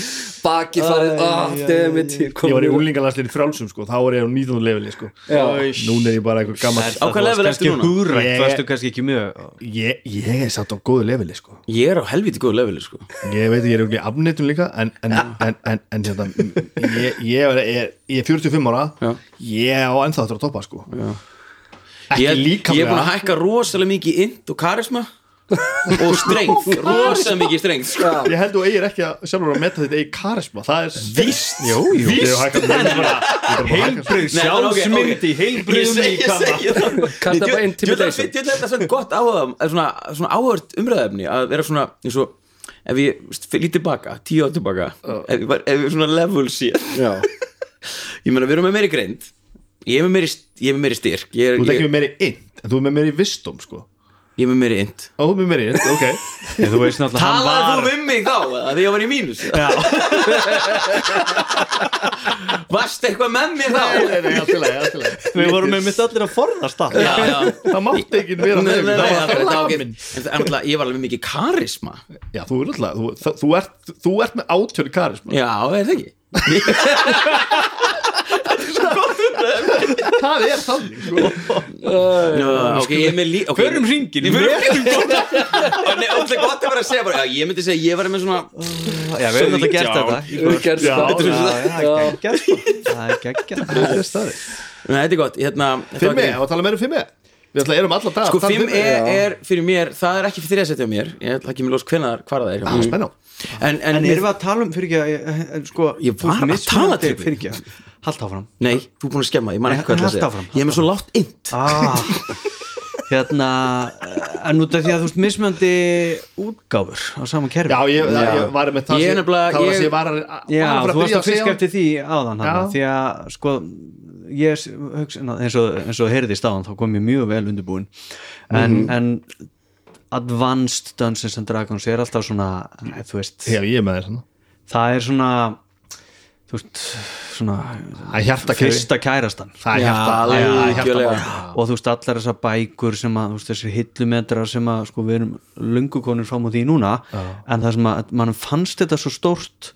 Speaker 3: baki farið, ah, demit
Speaker 2: ég var í úlingalandsliðin frálsum sko, þá var ég á 19. leveli sko. núna er ég bara eitthvað gammal
Speaker 1: Á hvað level ertu núna?
Speaker 4: Húrætt,
Speaker 2: Ég-
Speaker 4: varstu kannski ekki mjög
Speaker 2: ég, ég er satt á góðu leveli sko.
Speaker 1: Ég er á helviti góðu leveli sko
Speaker 2: ég veit að ég er ekki afnitun líka en, en, en, en, en hérna, ég, ég, er, ég, er, ég er 45 ára
Speaker 1: Já.
Speaker 2: ég á ennþá eftir að toppa sko.
Speaker 1: ég, ég
Speaker 2: ekki
Speaker 1: er búin að
Speaker 2: líkamlega
Speaker 1: hækka rosalega mikið í int og karisma og strength, rosalega mikið strength sko.
Speaker 2: ég held þú eigir ekki að sjálfur að meta þetta eigi karisma það er
Speaker 1: Víst
Speaker 2: Jú, jú. Ég er hægt að muna bara ég er bara að hækka-
Speaker 4: Heilbrið sjálfsmyndi
Speaker 1: Nei, en ok, ok. Ég
Speaker 4: Heilbrið
Speaker 1: segi, ég segi það
Speaker 3: Kasta bara
Speaker 1: Ég-
Speaker 3: intimidation.
Speaker 1: Ég held að þetta svona gott áhugaðum svona, svona áhugavert umræðefni að vera svona eins og ef ég veist, fyrir tilbaka, tíu ár tilbaka ef, ég var- ef ég svona level sér
Speaker 3: Já.
Speaker 1: ég meina við erum með meiri greind ég er með meiri, st- ég er með meiri styrk ég er,
Speaker 2: þú ert
Speaker 1: ég,
Speaker 2: ekki með meiri int en þú ert með meiri vistum sko.
Speaker 1: ég er með meiri int
Speaker 2: Ó, þú ert með meiri int, ok
Speaker 4: Þú veist náttúrulega hann
Speaker 1: talaði
Speaker 4: var
Speaker 1: þú um mig þá eða, því ég var í mínus varst eitthvað með mér þá
Speaker 2: Nei, nei, allt í lagi, allt í lagi.
Speaker 4: Við vorum með mitt allir að forðast það
Speaker 1: já, já
Speaker 2: það mátti ekki vera
Speaker 1: Nei, nei, nei,
Speaker 2: það
Speaker 1: það
Speaker 2: var
Speaker 1: er ekki-
Speaker 2: lamin
Speaker 1: en það er náttúrulega- ég var alveg mikið karisma
Speaker 2: já, þú er alltaf, þú, það- þú, ert, þú ert með átjörn karisma
Speaker 1: já, er það ekki
Speaker 2: það er þannig sko.
Speaker 1: Nú, ok, ég er með lí okay,
Speaker 4: Förum um hringinn.
Speaker 1: Ég- förum hringin Nei, alltaf gott að vera að segja bara já, ég myndi segja, ég var með svona
Speaker 4: Já, við höfum þetta gert
Speaker 1: Sautján.
Speaker 4: þetta
Speaker 3: Við höfum gert
Speaker 2: Já,
Speaker 3: það.
Speaker 4: Já,
Speaker 3: Já.
Speaker 4: já, geggjað, sko. Það er geggjað
Speaker 2: það er staðið
Speaker 1: Nei, þetta er gott hérna, þetta var
Speaker 2: fimm e,
Speaker 1: ekki-
Speaker 2: það var að tala meira um fimm e við ætla erum alla dag
Speaker 1: Sko, 5 er,
Speaker 2: E.
Speaker 1: er fyrir mér, það er ekki fyrir þess að setja á mér Ég ætla ekki með ljós hvenar hvar það er hjá mér.
Speaker 2: spenná
Speaker 1: En, Ah, en,
Speaker 4: En erum við að tala um fyrir ekki sko,
Speaker 1: Ég
Speaker 4: þú
Speaker 1: var
Speaker 4: ert
Speaker 1: að
Speaker 4: mismunandi
Speaker 1: tala til þín.
Speaker 4: fyrir ekki Hald áfram
Speaker 1: Nei, þú er búin að skemma, ég man
Speaker 4: Nei,
Speaker 1: ekki hvað það
Speaker 4: haltu
Speaker 1: segja
Speaker 4: áfram,
Speaker 1: Ég er með svo látt int
Speaker 4: ah, Hérna En út af því að þú veist mismjöndi útgáfur á sama kerfi
Speaker 2: já, ég, já. ég var með það
Speaker 1: Ég er
Speaker 2: sem-
Speaker 1: nefnilega-
Speaker 2: það var að
Speaker 1: ég-
Speaker 2: segja var að
Speaker 4: Já,
Speaker 2: var
Speaker 4: þú varst
Speaker 2: byrja
Speaker 4: að fiska
Speaker 2: segja-
Speaker 4: eftir því áðan hana,
Speaker 2: Já.
Speaker 4: því að sko ég s- hugsa, na, eins og, eins og heyrðist áðan þá kom ég mjög vel undirbúin en,
Speaker 2: Mhm.
Speaker 4: en Advanced Dungeons and Dragons er alltaf svona eh, þú veist,
Speaker 2: hérna. já, ég er með þér svona
Speaker 4: það er svona þú veist, svona
Speaker 2: Það er hjarta
Speaker 4: fyrsta kærastan
Speaker 2: Það er
Speaker 1: Já,
Speaker 2: hjarta Það er
Speaker 1: algjörlega.
Speaker 2: hjarta
Speaker 4: og þú veist allar þessar bækur sem að þú veist þessir hillumetrar sem að sko við erum lungukonir fram á því núna en það sem að mann fannst þetta svo stórt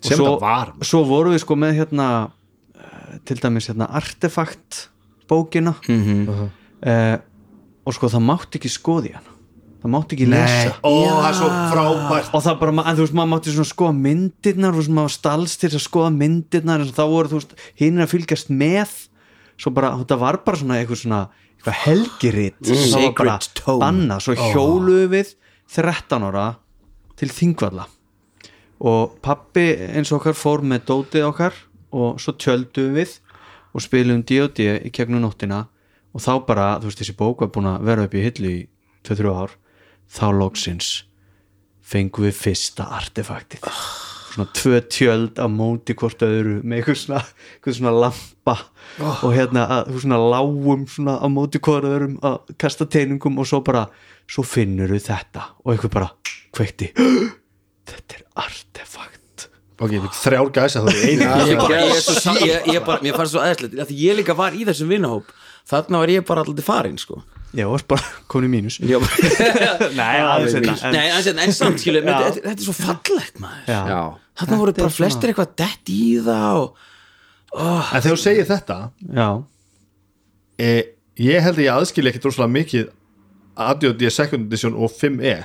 Speaker 4: og
Speaker 2: Sem
Speaker 4: svo,
Speaker 2: það var.
Speaker 4: svo vorum við sko með hérna eh, til dæmis hérna artefakt bókina mm
Speaker 1: Mhm.
Speaker 4: og sko það mátti ekki skoði hana það mátti ekki lesa
Speaker 2: Ó, það er svo frábært
Speaker 4: og það bara, ma- en þú veist, maður mátti svona skoða myndirnar og maður stalst til þess að skoða myndirnar en þá voru, þú veist, hinn að fylgjast með svo bara, þetta var bara svona eitthvað svona, eitthvað helgiritt mm. það var bara
Speaker 1: Sacred tome.
Speaker 4: banna svo hjóluðu við 13 ára til þingvalla og pappi eins og okkar fór með dótið okkar og svo tjöldum við og spilum D&D í gegnum nóttina og þá bara, þú veist, þessi bók var búin að vera upp í hillu í 2-3 ár þá loksins fengum við fyrsta artefaktið svona tvö tjöld á móti hvort öðru með eitthvað svona, eitthvað svona lampa og hérna að, eitthvað svona lágum svona á móti hvort öðrum að kasta teiningum og svo bara svo finnur við þetta og eitthvað bara kveikti þetta er artefakt
Speaker 2: Ok, ég fikk þrjár gæsa þú einu
Speaker 1: ég, bara, ég, er svo, sa- ég, ég bara, mér fannst svo aðeinslega því ég líka var í þessum vinahóp þarna var ég bara alltaf farin sko.
Speaker 4: ég var bara komin í mínus
Speaker 1: Ég bara,
Speaker 4: nei, aðeins þetta
Speaker 1: nei, en, en samt skilu
Speaker 4: Já.
Speaker 1: þetta, þetta er svo fallegt maður
Speaker 4: já,
Speaker 3: Já,
Speaker 1: þarna voru bara flestir eitthvað dett í það og,
Speaker 2: En þegar þú segir þetta
Speaker 4: já,
Speaker 2: e, Ég held að ég aðskilja ekkit rosalega mikið ADOD Second Edition og 5E
Speaker 1: ég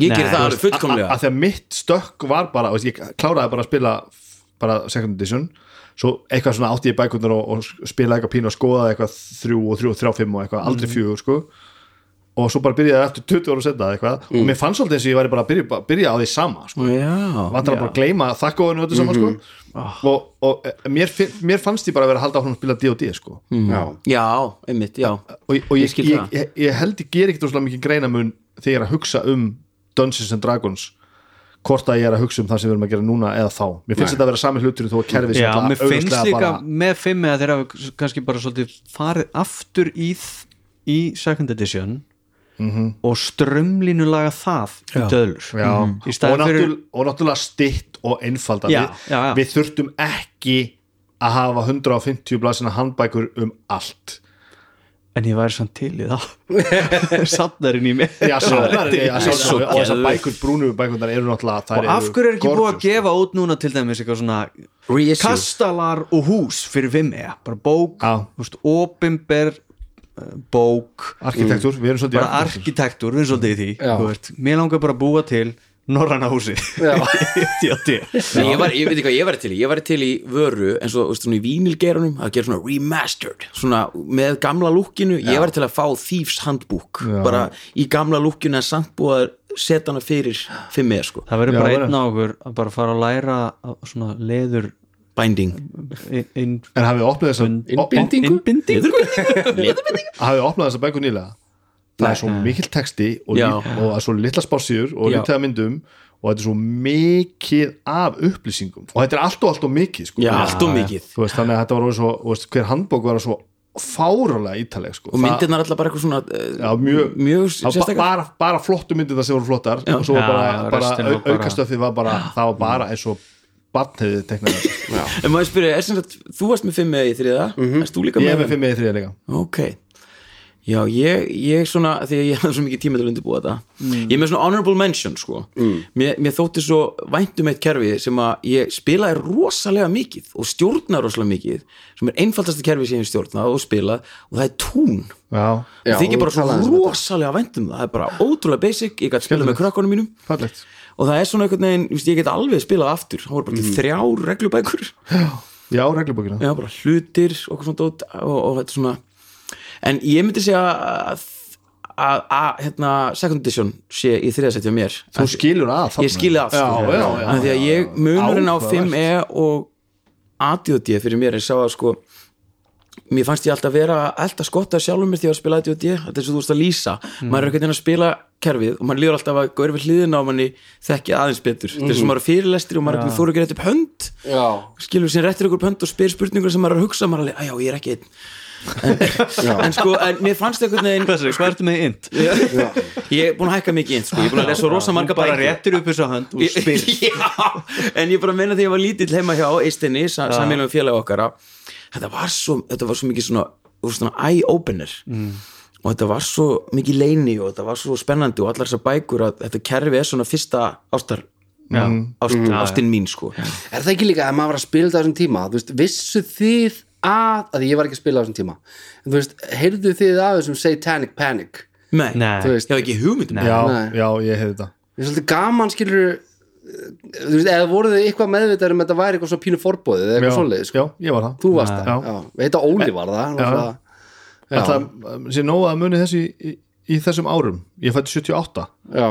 Speaker 4: Nei,
Speaker 1: gerir það
Speaker 4: þú
Speaker 1: alveg
Speaker 2: Að
Speaker 1: fullkomlega
Speaker 2: að því að mitt stökk var bara þú veist, Ég kláraði bara að spila bara Second Edition Svo eitthvað svona átti ég bækunar og, og spilaði eitthvað pínu og skoðaði eitthvað þrjú og þrjú og þrjá fimm og eitthvað aldrei
Speaker 1: Mhm.
Speaker 2: fjögur sko og svo bara byrjaði eftir 20 ára setna eitthvað
Speaker 1: Mm.
Speaker 2: og mér fannst svolítið eins og ég væri bara að byrja, bara að byrja á því sama sko.
Speaker 1: já, Mhm.
Speaker 2: vantar að bara gleyma þakkóðinu og þetta saman sko og, og eh, mér, fin- mér fannst ég bara að vera að halda áfram að spila D&D sko
Speaker 3: já
Speaker 1: já, einmitt, já
Speaker 2: og, og
Speaker 1: Ég
Speaker 2: ég,
Speaker 1: skil
Speaker 2: ég,
Speaker 1: það.
Speaker 2: ég, ég held ég ger ekkert rosalega mikið greinamun þegar ég er að hugsa um Dungeons and Dragons hvort að ég er að hugsa um það sem við erum að gera núna eða þá mér finnst þetta að vera sami hluturinn þó að kerfið sé
Speaker 4: já
Speaker 2: náttúrulega
Speaker 4: mér finnst
Speaker 2: augljóslega
Speaker 4: líka
Speaker 2: bara-
Speaker 4: með fimm eða þeirra hafa kannski bara svolítið farið aftur í, þ- í second edition og strömlínulaga það í döðlur
Speaker 2: Mhm.
Speaker 4: Mhm.
Speaker 2: Já,
Speaker 4: Mm. í
Speaker 2: og,
Speaker 4: staðin fyrir
Speaker 2: náttúrulega, og náttúrulega stitt og einfalda
Speaker 4: Já,
Speaker 2: við,
Speaker 4: já, já.
Speaker 2: við þurftum ekki að hafa 150 blasina handbækur um allt
Speaker 4: en ég væri samt til í það safnarinn í mig
Speaker 2: Já, sánar, já,
Speaker 1: Svo
Speaker 2: sánar, og þessar
Speaker 1: geðveikt.
Speaker 2: bækur, brúnu bækurnar eru náttúrulega þær
Speaker 4: og af
Speaker 2: eru
Speaker 4: hverju er ekki búið að
Speaker 2: gorgeous. sko.
Speaker 4: gefa út núna til dæmis eitthvað svona
Speaker 1: Reissue.
Speaker 4: kastalar og hús fyrir Vimea bara bók,
Speaker 2: Já.
Speaker 4: þú veist, opimber bók
Speaker 2: Arkitektúr, við erum svolítið
Speaker 4: bara arkitektur, við erum svolítið í því
Speaker 3: Já.
Speaker 4: þú veist, mér langar bara að búa til Norranna húsi já, já.
Speaker 1: Nei, ég, var, ég veit ekki hvað ég væri til í, ég væri til í vöru eins og þú veist, svona í vínilgeranum að gera svona remastered, svona með gamla lúkinu, ég væri til að fá Thieves Handbook, bara í gamla lúkinu en samt búið að setja hana fyrir fimm eða sko,
Speaker 4: það verður
Speaker 2: Já,
Speaker 4: bara
Speaker 2: verður.
Speaker 4: einn á okkur að bara fara að læra að svona leður
Speaker 1: binding
Speaker 4: inn, inn,
Speaker 2: En hafið opnað þessar
Speaker 3: Innbindi. Bindingu?
Speaker 4: innbindingu
Speaker 2: Hafið opnað þessar bækur nýlega Það er svo mikill texti og,
Speaker 1: Já.
Speaker 2: lít, og það er svo litla spásíður og
Speaker 1: Já.
Speaker 2: lítið af myndum og þetta er svo mikið af upplýsingum og þetta er allt og allt og mikið sko.
Speaker 1: já, allt og mikið
Speaker 2: Þú veist, þannig að þetta var orðið svo, þú veist, hver handbók var svo fárulega ítaleg sko.
Speaker 1: og myndirnar alltaf bara eitthvað svona eh,
Speaker 2: Já, mjög-
Speaker 1: mjög
Speaker 2: Það, á, ba-
Speaker 1: sérstakar
Speaker 2: bara, bara flottu myndir það sem voru flottar og svo var
Speaker 4: Já,
Speaker 2: bara,
Speaker 4: já,
Speaker 2: bara,
Speaker 4: restin
Speaker 2: au,
Speaker 4: var bara-
Speaker 2: aukastöfið var bara það var bara eins og barn hefði teknað þetta. sko.
Speaker 1: en maður spyrja, er sem sagt, þú varst með fimm eða í þriða mm -hmm. erst þú líka
Speaker 2: Mhm. ég er
Speaker 1: með
Speaker 2: með fimm eða þriða líka
Speaker 1: ok já, ég, ég svona, því að ég hafði svo mikið tíma til að undirbúa þetta ég er með svona honorable mention sko.
Speaker 3: Mm.
Speaker 1: mér, mér þótti svo væntum eitt kerfi sem að ég spilaði rosalega mikið og stjórna rosalega mikið sem er einfaldasta kerfi sem ég hef stjórnað og spilað og það er tún
Speaker 2: Já,
Speaker 3: Já,
Speaker 1: það þykir bara
Speaker 3: þú
Speaker 1: svo
Speaker 3: talaðir um þetta.
Speaker 1: rosalega væntum það er bara ótrúlega basic, ég gæti spilað með krakkonum mínum
Speaker 2: fallegt
Speaker 1: og það er svona einhvern veginn, víst, ég get alveg spilað aftur það voru bara mm. þrjár reglubækur
Speaker 2: Já, reglubókina
Speaker 1: já, bara hlutir og eitthvað svona dót og, og þetta svona en ég myndi segja að að- að hérna, second edition sé í þriðasætti á mér
Speaker 2: Þú skilur að þarna.
Speaker 1: ég skilja af sko.
Speaker 2: Já, já, já,
Speaker 1: Af því að
Speaker 2: já,
Speaker 1: ég munurinn á
Speaker 2: Áhugavert.
Speaker 1: 5E og ADOD fyrir mér er sá að sko mér fannst ég alltaf vera alltaf skotta sjálfur mér því að spila ADOD þetta er svo þú veist að lýsa, maður er einhvern veginn að spila kerfið og maður líður alltaf að góður við hliðina og manni þekki aðeins betur þetta er svo maður er fyrirlestri og maður ja. þóru ekki rétt upp hönd
Speaker 3: Já,
Speaker 1: skilur sér réttir ykkur pönd og spyr spurningur sem maður er að hugsa maður er alveg, að já, ég er ekki einn en sko, en mér fannst einhvern veginn
Speaker 4: Hvað, hvað ertu með int?
Speaker 1: ég er búin að hækka mikið inn, sko, ég er búin að lesa svo rosa marga
Speaker 4: bara
Speaker 1: bækur.
Speaker 4: réttir upp þessu hönd og spyr
Speaker 1: já, en ég bara meina þegar ég var lítill heima hjá Eistinni, sammeilum félag okkar að þetta var svo, þetta var svo mikið svona, þú veist, svona eye-opener
Speaker 4: Mm.
Speaker 1: og þetta var svo mikið leini og þetta var svo spennandi og allar þessar bækur að þetta kerfi er svona fyrsta ástar Mm.
Speaker 4: Já. Mm.
Speaker 1: ást, ástin mín sko
Speaker 3: Er það ekki líka að maður var að spila á þessum tíma þú veist, vissu þið að að ég var ekki að spila á þessum tíma en þú veist, heyrðu þið að þessum satanic panic
Speaker 1: Nei,
Speaker 4: Nei.
Speaker 1: þú veist, ég hef ekki um hugmyndum
Speaker 2: já,
Speaker 3: Nei.
Speaker 2: já, ég hefði þetta
Speaker 3: Ég er svolítið gaman skilur þú veist, eða voruð þið eitthvað meðvitað um að þetta væri eitthvað svo pínu forbóðið eða
Speaker 2: já,
Speaker 3: eitthvað svoleiðið, sko.
Speaker 2: já, ég var það
Speaker 3: þú varst það
Speaker 2: Já.
Speaker 3: já. Ég heit að Óli var það hann var
Speaker 2: Já.
Speaker 3: svona-
Speaker 2: Ég ætla að sé nóga að muni þessi í, í þessum árum ég fætti 78
Speaker 3: já,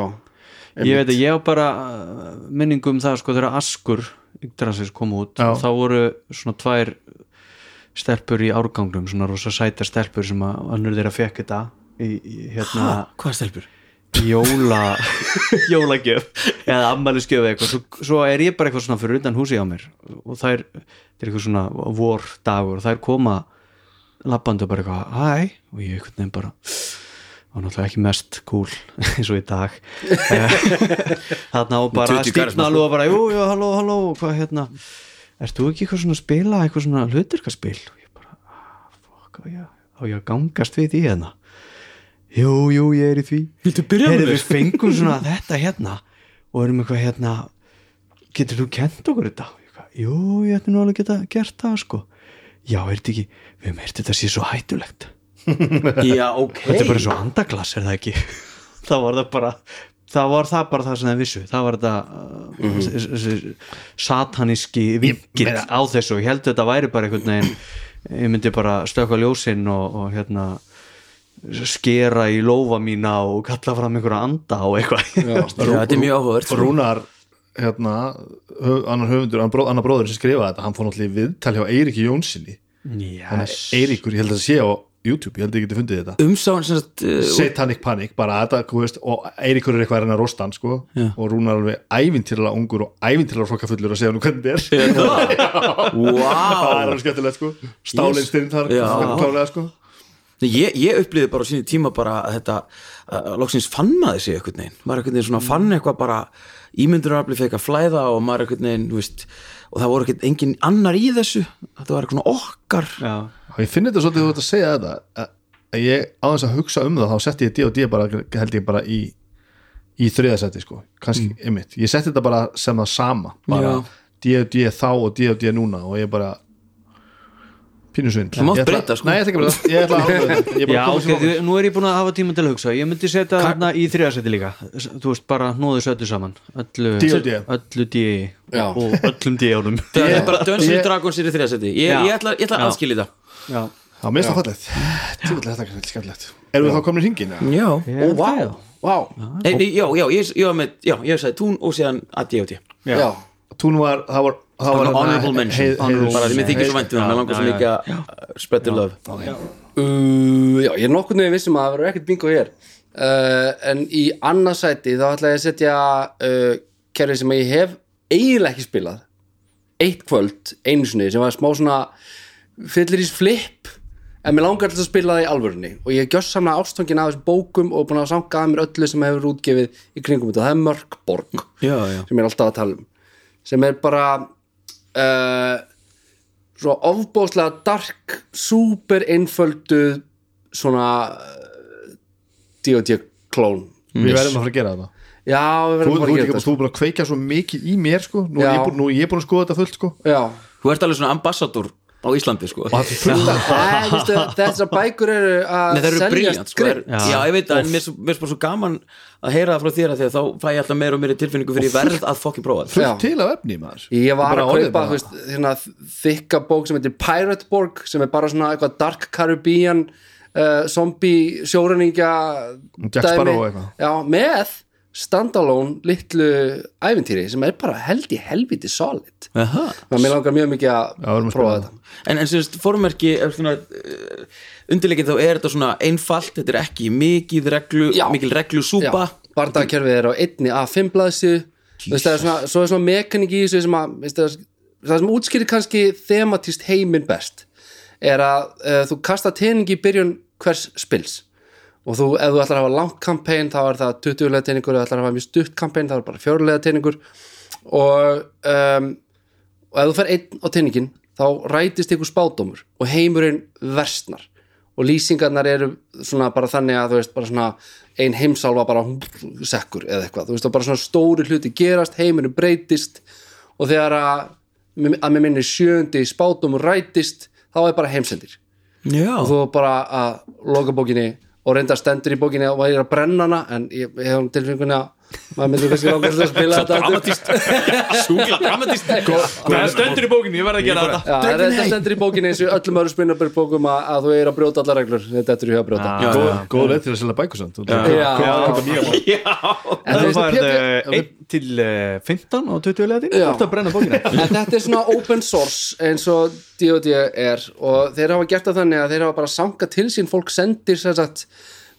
Speaker 4: ég veit að ég á bara uh, minningu um það sko þegar Askur Yggdrasis kom út
Speaker 2: Já.
Speaker 4: þá voru svona tvær stelpur í árgangnum svona rosa sæta stelpur sem að önnur þeirra fekk þetta í, í hérna
Speaker 1: Hvað stelpur?
Speaker 4: jóla jólagjöf eða ammælisgjöf eða eitthvað svo, svo er ég bara eitthvað svona fyrir utan húsi á mér og það er, það er eitthvað svona vor dagur og það er koma lappandi og bara eitthvað hæ og ég eitthvað nefn bara og náttúrulega ekki mest cool eins og í dag þarna og bara
Speaker 1: 20 karisma,
Speaker 4: stífna alveg og bara jú, jú, halló, halló, og hvað hérna ert þú ekki eitthvað svona að spila eitthvað svona hluturkaspil og ég bara, ah, fuck, á ég, á ég að gangast við því hérna jú, jú, ég er í því
Speaker 1: Viltu byrja
Speaker 4: Heyrðu,
Speaker 1: með
Speaker 4: við fengum svona þetta hérna og erum eitthvað hérna getur þú kent okkur þetta? Ég eitthvað, Jú, ég ætti nú alveg geta gert það sko Já, er þetta ekki, við höfum heyrt þetta sé svo hættulegt
Speaker 1: Já, ok
Speaker 4: Þetta er bara svo andaglas, er það ekki? það var það bara það var það bara það sem það vissu það var þetta mm sataníski vingill
Speaker 2: Mhm. meina-
Speaker 4: á þessu og ég held að þetta væri bara einhvern veginn ég myndi bara stökka ljósinn og, og hérna skera í lófa mína og kalla fram einhverja anda og eitthvað
Speaker 1: Já, þetta er mjög áhugavert sko.
Speaker 2: Rúnar, hérna höf, annar höfundur, annar, bró, annar bróður sem skrifaði þetta hann fór náttúrulega í viðtal hjá Eiríki Jónssoni hann er
Speaker 4: yes.
Speaker 2: Eiríkur, ég held að það sé á YouTube ég held að ég geti fundið þetta
Speaker 1: Umsáin sem sagt uh,
Speaker 2: Satanic Panic, bara þetta, þú veist og Eiríkur er eitthvað að reyna að rosta hann, sko og Rúnar alveg ævintýrlega ungur og ævintýrlega hrokkafullur að segja hann hvernig þetta er það er
Speaker 1: Wow
Speaker 2: alveg skemmtilegt, sko stálinn
Speaker 1: Yes.
Speaker 2: styrn þar,
Speaker 1: Já.
Speaker 2: klálega, sko
Speaker 1: Nei, Ég, ég upplýði bara á sínu tíma bara að þetta, að loksins fann maður sig einhvern veginn, maður einhvern veginn svona fann eitthvað bara ímyndurafli fekk að flæða og maður einhvern veginn, þú veist og það voru ekkert engin annar í þessu þetta var eitthvað okkar
Speaker 4: Já.
Speaker 2: Og ég finn þetta svolítið þú ert að segja þetta að- að ég á þess að hugsa um það þá setti ég D&D bara, held ég bara í í þriðasætti sko, kannski
Speaker 1: Mm.
Speaker 2: einmitt ég setti þetta bara sem það sama bara D&D þá og D&D núna og ég bara pínusvind
Speaker 1: Þú mátt breyta, sko.
Speaker 2: Nei, ég ætla ekki að breyta, ég ætla að ákveða þetta. Ég er bara
Speaker 4: Já,
Speaker 2: að koma
Speaker 4: ok,
Speaker 2: sem ákveða.
Speaker 4: þú- nú er ég búin að hafa tíma til að hugsa Ég myndi setja
Speaker 1: Ka-
Speaker 4: þarna í þriðasæti líka S- Þú veist, bara hnóðu þessu öllu saman Öllu,
Speaker 2: D&D.
Speaker 4: öllu D E
Speaker 3: Já.
Speaker 4: Og öllum D-ánum
Speaker 1: það er bara Dungeons
Speaker 2: ég-
Speaker 1: and Dragons er í þriðasetti ég,
Speaker 4: Já.
Speaker 1: ég ætla, ég ætla að
Speaker 4: Já.
Speaker 1: aðskilja þetta
Speaker 4: Já,
Speaker 2: Já, mér finnst það fallegt Tjóðlega þetta er skemmtilegt Erum við þá komin í hringin? eða?
Speaker 1: Já,
Speaker 4: Ég held það, já.
Speaker 3: vá,
Speaker 1: Nei, nei, já, já, ég, ég var með, já, ég sagði tún og síðan að ég átti
Speaker 3: já, já.
Speaker 2: Tún var, það var, það var
Speaker 1: Honorable mention,
Speaker 2: hei- heiðurs-
Speaker 1: bara því mér þykir svo
Speaker 2: heiðurs-
Speaker 1: væntum það, mér langar svo
Speaker 4: já,
Speaker 1: mikið að uh, spread the love
Speaker 3: Uh, já, ég er nokkurn veginn vissum að það verður ekkert bingo hér uh, en í annarsæti þá ætla ég að setja uh, kerfi sem ég hef eiginlega ekki spilað eitt kvöld, einu sinni sem var smá svona fyllir ís flip en mér langar alltaf að spila það í alvörunni og ég hef gjöss samna ástöngin af þessum bókum og búin að sanga að mér öllu sem hefur útgefið í kringum þetta, það er mörg borg
Speaker 1: Já, já,
Speaker 3: sem ég er alltaf að tala um sem er bara uh, svo ofbóðslega dark, super einföldu svona eh, D.O.D. klón
Speaker 2: Við verðum að fara að gera þetta
Speaker 3: já, við
Speaker 2: Þú,
Speaker 3: verðum
Speaker 2: þú,
Speaker 3: bara að
Speaker 2: ert
Speaker 3: gera
Speaker 2: ekki,
Speaker 3: þetta sko.
Speaker 2: þú er búin að kveika svo mikið í mér sko. nú,
Speaker 3: Já.
Speaker 2: er ég búin, nú er ég búin að skoða þetta fullt sko.
Speaker 3: já
Speaker 1: þú ert alveg svona ambassador á Íslandi sko
Speaker 2: og það er fullt af
Speaker 3: Æ, veistu, þessar bækur eru að
Speaker 1: Nei, það eru briljant sko, er,
Speaker 3: grinn
Speaker 1: já. ég veit það, en mér er svo- mér er bara svo gaman að heyra það frá þér að því að þá fæ ég alltaf meira og meira tilfinningu fyrir ég verð að fokkin prófa það
Speaker 3: Já.
Speaker 2: fullt til af efni maður
Speaker 3: Ég var
Speaker 2: Bara
Speaker 3: að
Speaker 2: orðið
Speaker 3: kaupa
Speaker 2: bara-
Speaker 3: þú veist, hérna, þykka bók sem heitir Pirate Borg sem er bara svona eitthvað Dark Caribbean uh, zombie sjóræningja
Speaker 2: Jack Sparrow og eitthvað.
Speaker 3: Já, með standalone litlu ævintýri sem er bara held í helviti solid
Speaker 1: Aha.
Speaker 3: Þannig að mér langar mjög mikið að
Speaker 2: Já, við erum að
Speaker 3: prófa
Speaker 2: spila
Speaker 3: þetta
Speaker 1: en, en sem sagt, formerki er svona, uh, undirleikin þá er þetta svona einfalt, þetta er ekki mikið reglu,
Speaker 3: Já.
Speaker 1: mikil reglu súpa
Speaker 3: barndagakerfið er á einni A5 blaðsju svo er svona, svo er svona mekanik í þessu sem að, veist, það, það sem útskýrir kannski thematíst heiminn best er að uh, þú kasta teningi í byrjun hvers spils og þú, ef þú ætlar að hafa langt kampæn þá er það 20 lega teningur, ef þú ætlar að hafa mjög stutt kampæn þá er bara 4 lega teningur og, um, og ef þú fer einn á teningin þá rætist ykkur spádómur og heimurinn versnar og lýsingarnar eru svona bara þannig að þú veist bara svona ein heimsálfa bara hún sekkur eða eitthvað, þú veist og bara svona stóri hluti gerast, heimurinn breytist og þegar að, að mér minni sjöndi spádómur rætist þá er bara heimsendir
Speaker 1: Já,
Speaker 3: og þú bara að loka bókinni og reynda stendur í bókinni og væri að brenna hana en ég, ég hef um tilfengunni að maður myndi kannski langar til að spila þetta aftur.
Speaker 1: sjúkla dramatist
Speaker 4: það stöndur í bókinni, ég verð að gera þetta
Speaker 3: Já, en þetta stendur í bókinni eins og í öllum öðrum spinnabur bókum að, að þú er að brjóta allar reglur þetta er að brjóta
Speaker 1: Já,
Speaker 2: góð,
Speaker 1: já.
Speaker 2: góð leið til að selja bækur samt Þú-
Speaker 3: Já, já,
Speaker 4: það
Speaker 3: veist,
Speaker 4: var
Speaker 3: Pétur-
Speaker 4: eh, 1 til eh, 15 og 20 leðin
Speaker 3: Já.
Speaker 4: þetta að brenna bókinni
Speaker 3: en þetta er svona open source eins og D.O.D. er og þeir hafa gert það þannig að þeir hafa bara sankað til sín fólk sendir sem sagt,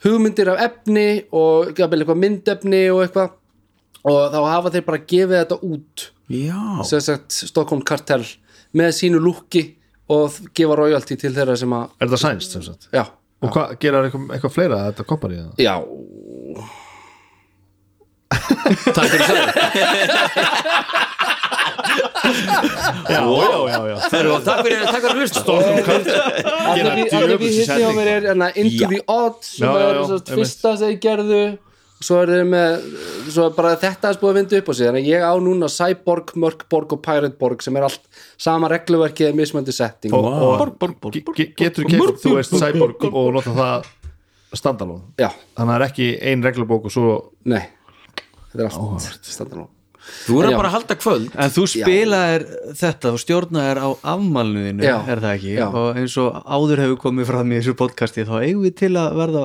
Speaker 3: hugmyndir af efni og jafnvel eitthvað myndefni og eitthvað og þá hafa þeir bara gefið þetta út
Speaker 1: Já,
Speaker 3: sem sagt Stockholm Kartel með sínu lúki og þ- gefa royalty til þeirra sem að
Speaker 2: Er það sænst sem sagt?
Speaker 3: já,
Speaker 2: Og hvað, gera eitthvað, eitthvað fleira að þetta kompar í það?
Speaker 3: já,
Speaker 1: takk fyrir það
Speaker 2: Já, já, já, já
Speaker 1: Takk fyrir takk fyrir að hlusta
Speaker 3: allir við- allir við hitti á mér er enna Into
Speaker 1: Já.
Speaker 3: the Odds sem
Speaker 2: sko. Já, já,
Speaker 3: er
Speaker 2: já,
Speaker 3: sem sagt,
Speaker 2: einmitt.
Speaker 3: fyrsta sem ég gerðu svo er þeir með svo er bara þetta er búið að vinda upp á sig þannig að ég á núna Cyborg, Mörkborg og Pirateborg sem er allt sama regluverkið eða mismöndi setting
Speaker 2: Og, og ge- ge- getur keitt, þú veist, cyborg og nota það standalone
Speaker 3: já,
Speaker 2: Þannig að það er ekki ein reglubók og svo
Speaker 3: nei þetta er allt standaló
Speaker 1: Þú voru
Speaker 3: Já.
Speaker 1: bara að halda kvöld
Speaker 4: En þú spilaðir þetta, þú stjórnaðir á afmælnuðinu,
Speaker 3: Já.
Speaker 4: er það ekki?
Speaker 3: Já.
Speaker 4: Og eins og áður hefur komið fram í þessu podcasti þá eigum við til að verða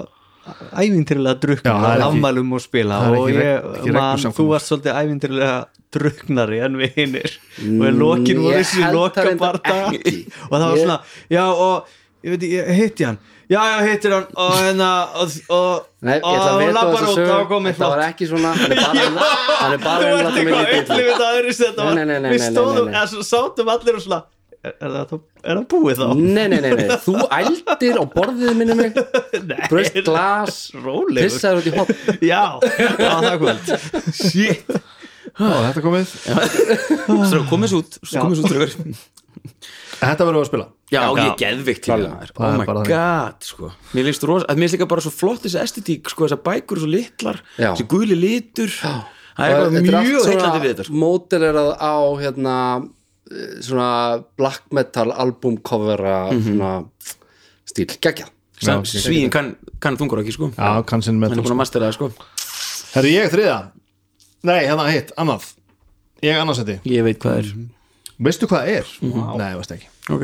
Speaker 4: ævintýrlega
Speaker 2: Já, það
Speaker 4: druknar
Speaker 2: er ekki-
Speaker 4: afmælum og spila
Speaker 2: það er
Speaker 4: og
Speaker 2: ekki reg-
Speaker 4: ég,
Speaker 2: ekki
Speaker 4: man,
Speaker 2: reglusamkomu.
Speaker 4: þú varst svolítið ævintýrlega druknari en við hinnir og í lokin voru
Speaker 3: Mm, ég
Speaker 4: þessi
Speaker 3: held það
Speaker 4: loka
Speaker 3: reyndar
Speaker 4: barta og
Speaker 3: ekki.
Speaker 4: það var
Speaker 3: Ég-
Speaker 4: svona, já og ég veit, ég hitti hann já, já, hittir hann og hérna og, og,
Speaker 3: Nei, ég
Speaker 4: og
Speaker 3: ætla að
Speaker 4: hann
Speaker 3: veta á
Speaker 4: lappar
Speaker 3: þessa
Speaker 4: út og
Speaker 3: sögu
Speaker 4: komið
Speaker 3: Þetta var ekki svona Hann er bara Hann er bara
Speaker 4: Þú
Speaker 3: að
Speaker 4: ert
Speaker 3: láta
Speaker 4: eitthvað
Speaker 3: mig lítið illa.
Speaker 4: upplifið að öðru þetta
Speaker 3: Nei,
Speaker 4: var
Speaker 3: nei, nei, nei,
Speaker 4: Við
Speaker 3: nei,
Speaker 4: stóðum,
Speaker 3: nei, nei.
Speaker 4: eða svo sátum allir og svona Er, er, það, er það búið þá?
Speaker 3: Nei, nei, nei, nei, þú ældir á borðið minni mig
Speaker 4: Nei,
Speaker 3: Braust glas
Speaker 4: Rólegur
Speaker 3: Pissaður út í hopp
Speaker 4: Já, já, það er kvöld Shit
Speaker 2: Já, þetta komið
Speaker 1: Strá, komið svo út,
Speaker 4: Já.
Speaker 1: komið svo út strákar.
Speaker 2: Þetta verður að spila
Speaker 1: Já, og ég er geðvikt í það
Speaker 2: Það
Speaker 1: Oh
Speaker 2: er
Speaker 1: my
Speaker 2: bara þannig.
Speaker 1: god, sko Mér líst rosa, að mér líst líka bara svo flott þessi estetík, sko, þessar bækur svo litlar
Speaker 3: Já.
Speaker 1: þessi guli litur Það er
Speaker 3: Þetta
Speaker 1: eitthvað
Speaker 3: allt
Speaker 1: mjög
Speaker 3: svona
Speaker 1: heitlandi við þetta, sko
Speaker 3: Módelerað á hérna eh, Svona black metal album covera
Speaker 1: Mhm.
Speaker 3: Svona stíl Gækja
Speaker 1: Sam- Svíinn kann, kann þungur ekki, sko
Speaker 2: Já, kannsin með
Speaker 1: Hann er búin að mastera það, sko
Speaker 2: Herri, ég þriða Nei, hérna hitt, annað Ég annarsetti
Speaker 1: Ég veit hvað er
Speaker 2: Veistu hvað það er? Nei, ég veist ekki
Speaker 1: Ok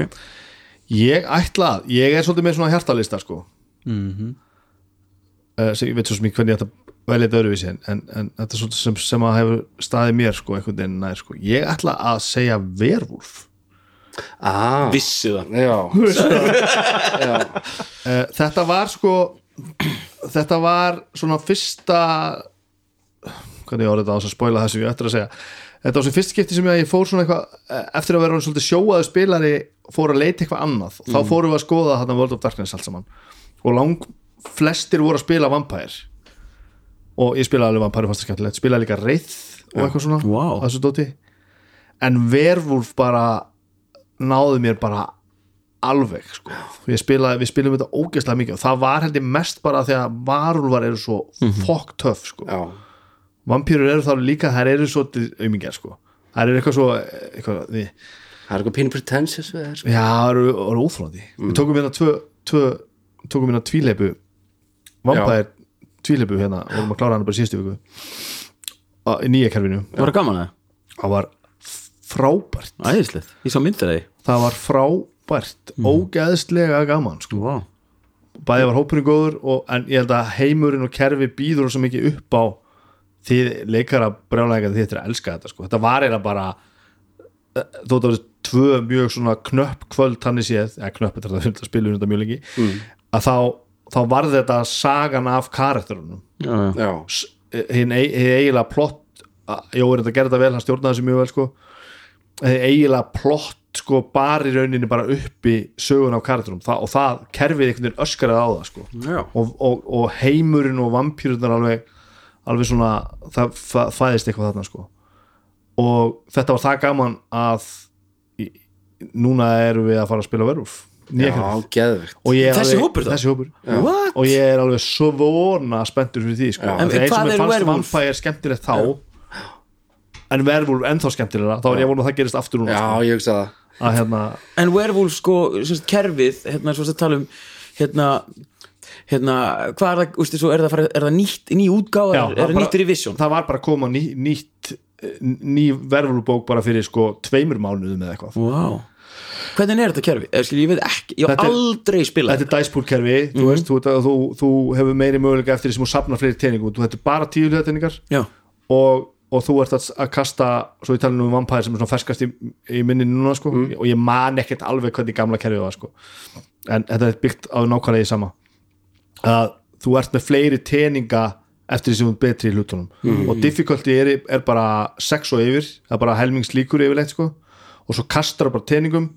Speaker 2: Ég ætla að, ég er svolítið með svona hjartalista sko mm ég veit svo sem ég hvernig ég ætla að velja þetta öðruvísi en, en, en þetta er svolítið sem, sem að hefur staðið mér sko einhvern veginn nær sko ég ætla að segja vervúlf
Speaker 3: Ah,
Speaker 1: Vissi það
Speaker 3: já
Speaker 2: uh, þetta var sko þetta var svona fyrsta hvernig ég orðið þetta á þess að spoila það sem ég ætla að segja þetta var svo fyrst skipti sem ég fór svona eitthvað eh, eftir að vera orðinn svolítið sjóaðu spilari fór að leita eitthvað annað þá fórum við að skoða þarna World of Darkness allt saman og lang flestir voru að spila Vampire og ég spilaði alveg Vampire fannst það skemmtilegt, spilaði líka Wraith og eitthvað svona
Speaker 1: Vá.
Speaker 2: að þessu dóti en Verwolf bara náði mér bara alveg sko. ég spilaði, við spilum þetta ógeðslega mikið og það var held ég mest bara því að varulvar eru svo mm fokk töff sko
Speaker 3: Já,
Speaker 2: vampýrur eru þá líka, þær eru svo aumingar sko, þær eru eitthvað svo eitthvað, því,
Speaker 3: það er eitthvað pínu pretentious við þér sko.
Speaker 2: já, þær eru, eru óþróndi við tókum hérna tvö, tvö tókum hérna tvíleipu vampæðir tvíleipu hérna, við vorum að klára hana bara í síðustu viku Á- í nýja kerfinu,
Speaker 1: Það var gaman að það,
Speaker 2: það var frábært,
Speaker 1: æðislegt Ég sá myndir af því
Speaker 2: það var frábært ógeðslega gaman sko
Speaker 1: Vá
Speaker 2: bæði var hópurinn góður og, en ég held að heimurinn og kerfi býður svo mikið upp á því leikara brjálæðingar því þetta er að elska þetta sko. þetta var eiginlega bara eh, þótt að vera tvö mjög svona knöpp kvöld þannig séð, eða knöpp þetta er það spilur þetta mjög lengi,
Speaker 1: Mm.
Speaker 2: að þá þá varð þetta sagan af karakterunum
Speaker 1: Já, já
Speaker 3: Já,
Speaker 2: S- hinn ei- hið eiginlega plott að- Jó er þetta að gera þetta vel, hann stjórnaði þessu mjög vel sko eiginlega plott sko bara í rauninni bara uppi sögun á karakterum það, og það kerfið einhvern veginn öskraði á það sko
Speaker 1: Já.
Speaker 2: og, og, og heimurinn og vampýrunar alveg, alveg svona það fa- fæðist eitthvað þarna sko og þetta var það gaman að í- núna erum við að fara að spila veruf
Speaker 3: Já, geðvegt
Speaker 2: og ég er
Speaker 1: Þessi
Speaker 2: alveg,
Speaker 1: hópur þá?
Speaker 2: þessi hópur
Speaker 1: What?
Speaker 2: og ég er alveg svona spenntur fyrir því sko.
Speaker 1: En
Speaker 2: en eins
Speaker 1: hvað
Speaker 2: og mér
Speaker 1: er
Speaker 2: fannst
Speaker 1: werewolf?
Speaker 2: vampire skemmtilegt þá en vervúlf ennþá skemmtilega þá er ég vonað að það gerist aftur núna
Speaker 3: Já,
Speaker 2: sko.
Speaker 3: ég hugsa það
Speaker 2: að hérna,
Speaker 1: en werewolf sko, semst kerfið hérna, svo að tala um hérna, hérna, hvað er það, ústu, svo er það, fara, er það nýtt, ný útgáð
Speaker 2: já,
Speaker 1: er, er það nýtt revision
Speaker 2: það var bara að koma ný, nýtt eh, ný vervúlbók bara fyrir sko tveimur mánuðum eða eitthvað
Speaker 1: wow. hvernig er þetta kerfið, Eða, skil, Eh, ég veit ekki, ég
Speaker 2: Þetta
Speaker 1: hef
Speaker 2: er-
Speaker 1: aldrei spilað
Speaker 2: þetta er dæspúlkerfi, þú veist þú, þú, þú hefur meiri möguleika eftir því sem þú safnar fleiri teiningum, þú hættu bara tíu teiningar
Speaker 1: já,
Speaker 2: og, og þú ert að, að kasta svo ég tala nú um vampire sem er svona ferskast í, í minni núna sko og ég man ekkert alveg hvernig gamla kerfið var sko en þetta er byggt á nákvæmlega í sama að þú ert með fleiri teninga eftir því sem þú ert betri í hlutunum og difficulty er, er bara 6 og yfir, það er bara helmingslíkur yfirleitt sko og svo kastar það bara teningum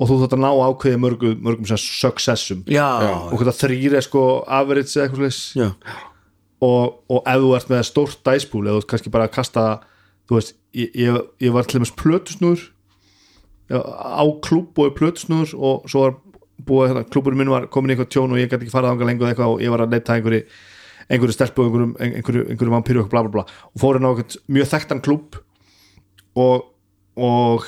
Speaker 2: og þú þátt að ná ákveði mörgum, mörgum sem successum
Speaker 1: já,
Speaker 2: og hvernig þrýr er sko average eða eitthvað slags
Speaker 1: já.
Speaker 2: og, og ef þú ert með stórt dæspúl eða þú ert kannski bara að kasta þú veist, ég, ég, ég var til dæmis plötusnúr já, á klúb og plötusnúr og svo var búið, hérna, klúburinn minn var komin í eitthvað tjón og ég gæti ekki farað ánga lengur eitthvað og ég var að leita að einhverju einhverju stelpu og einhverjum, einhverju, einhverju vampíru og bla bla bla og fórin á einhvern mjög þekktan klúb og, og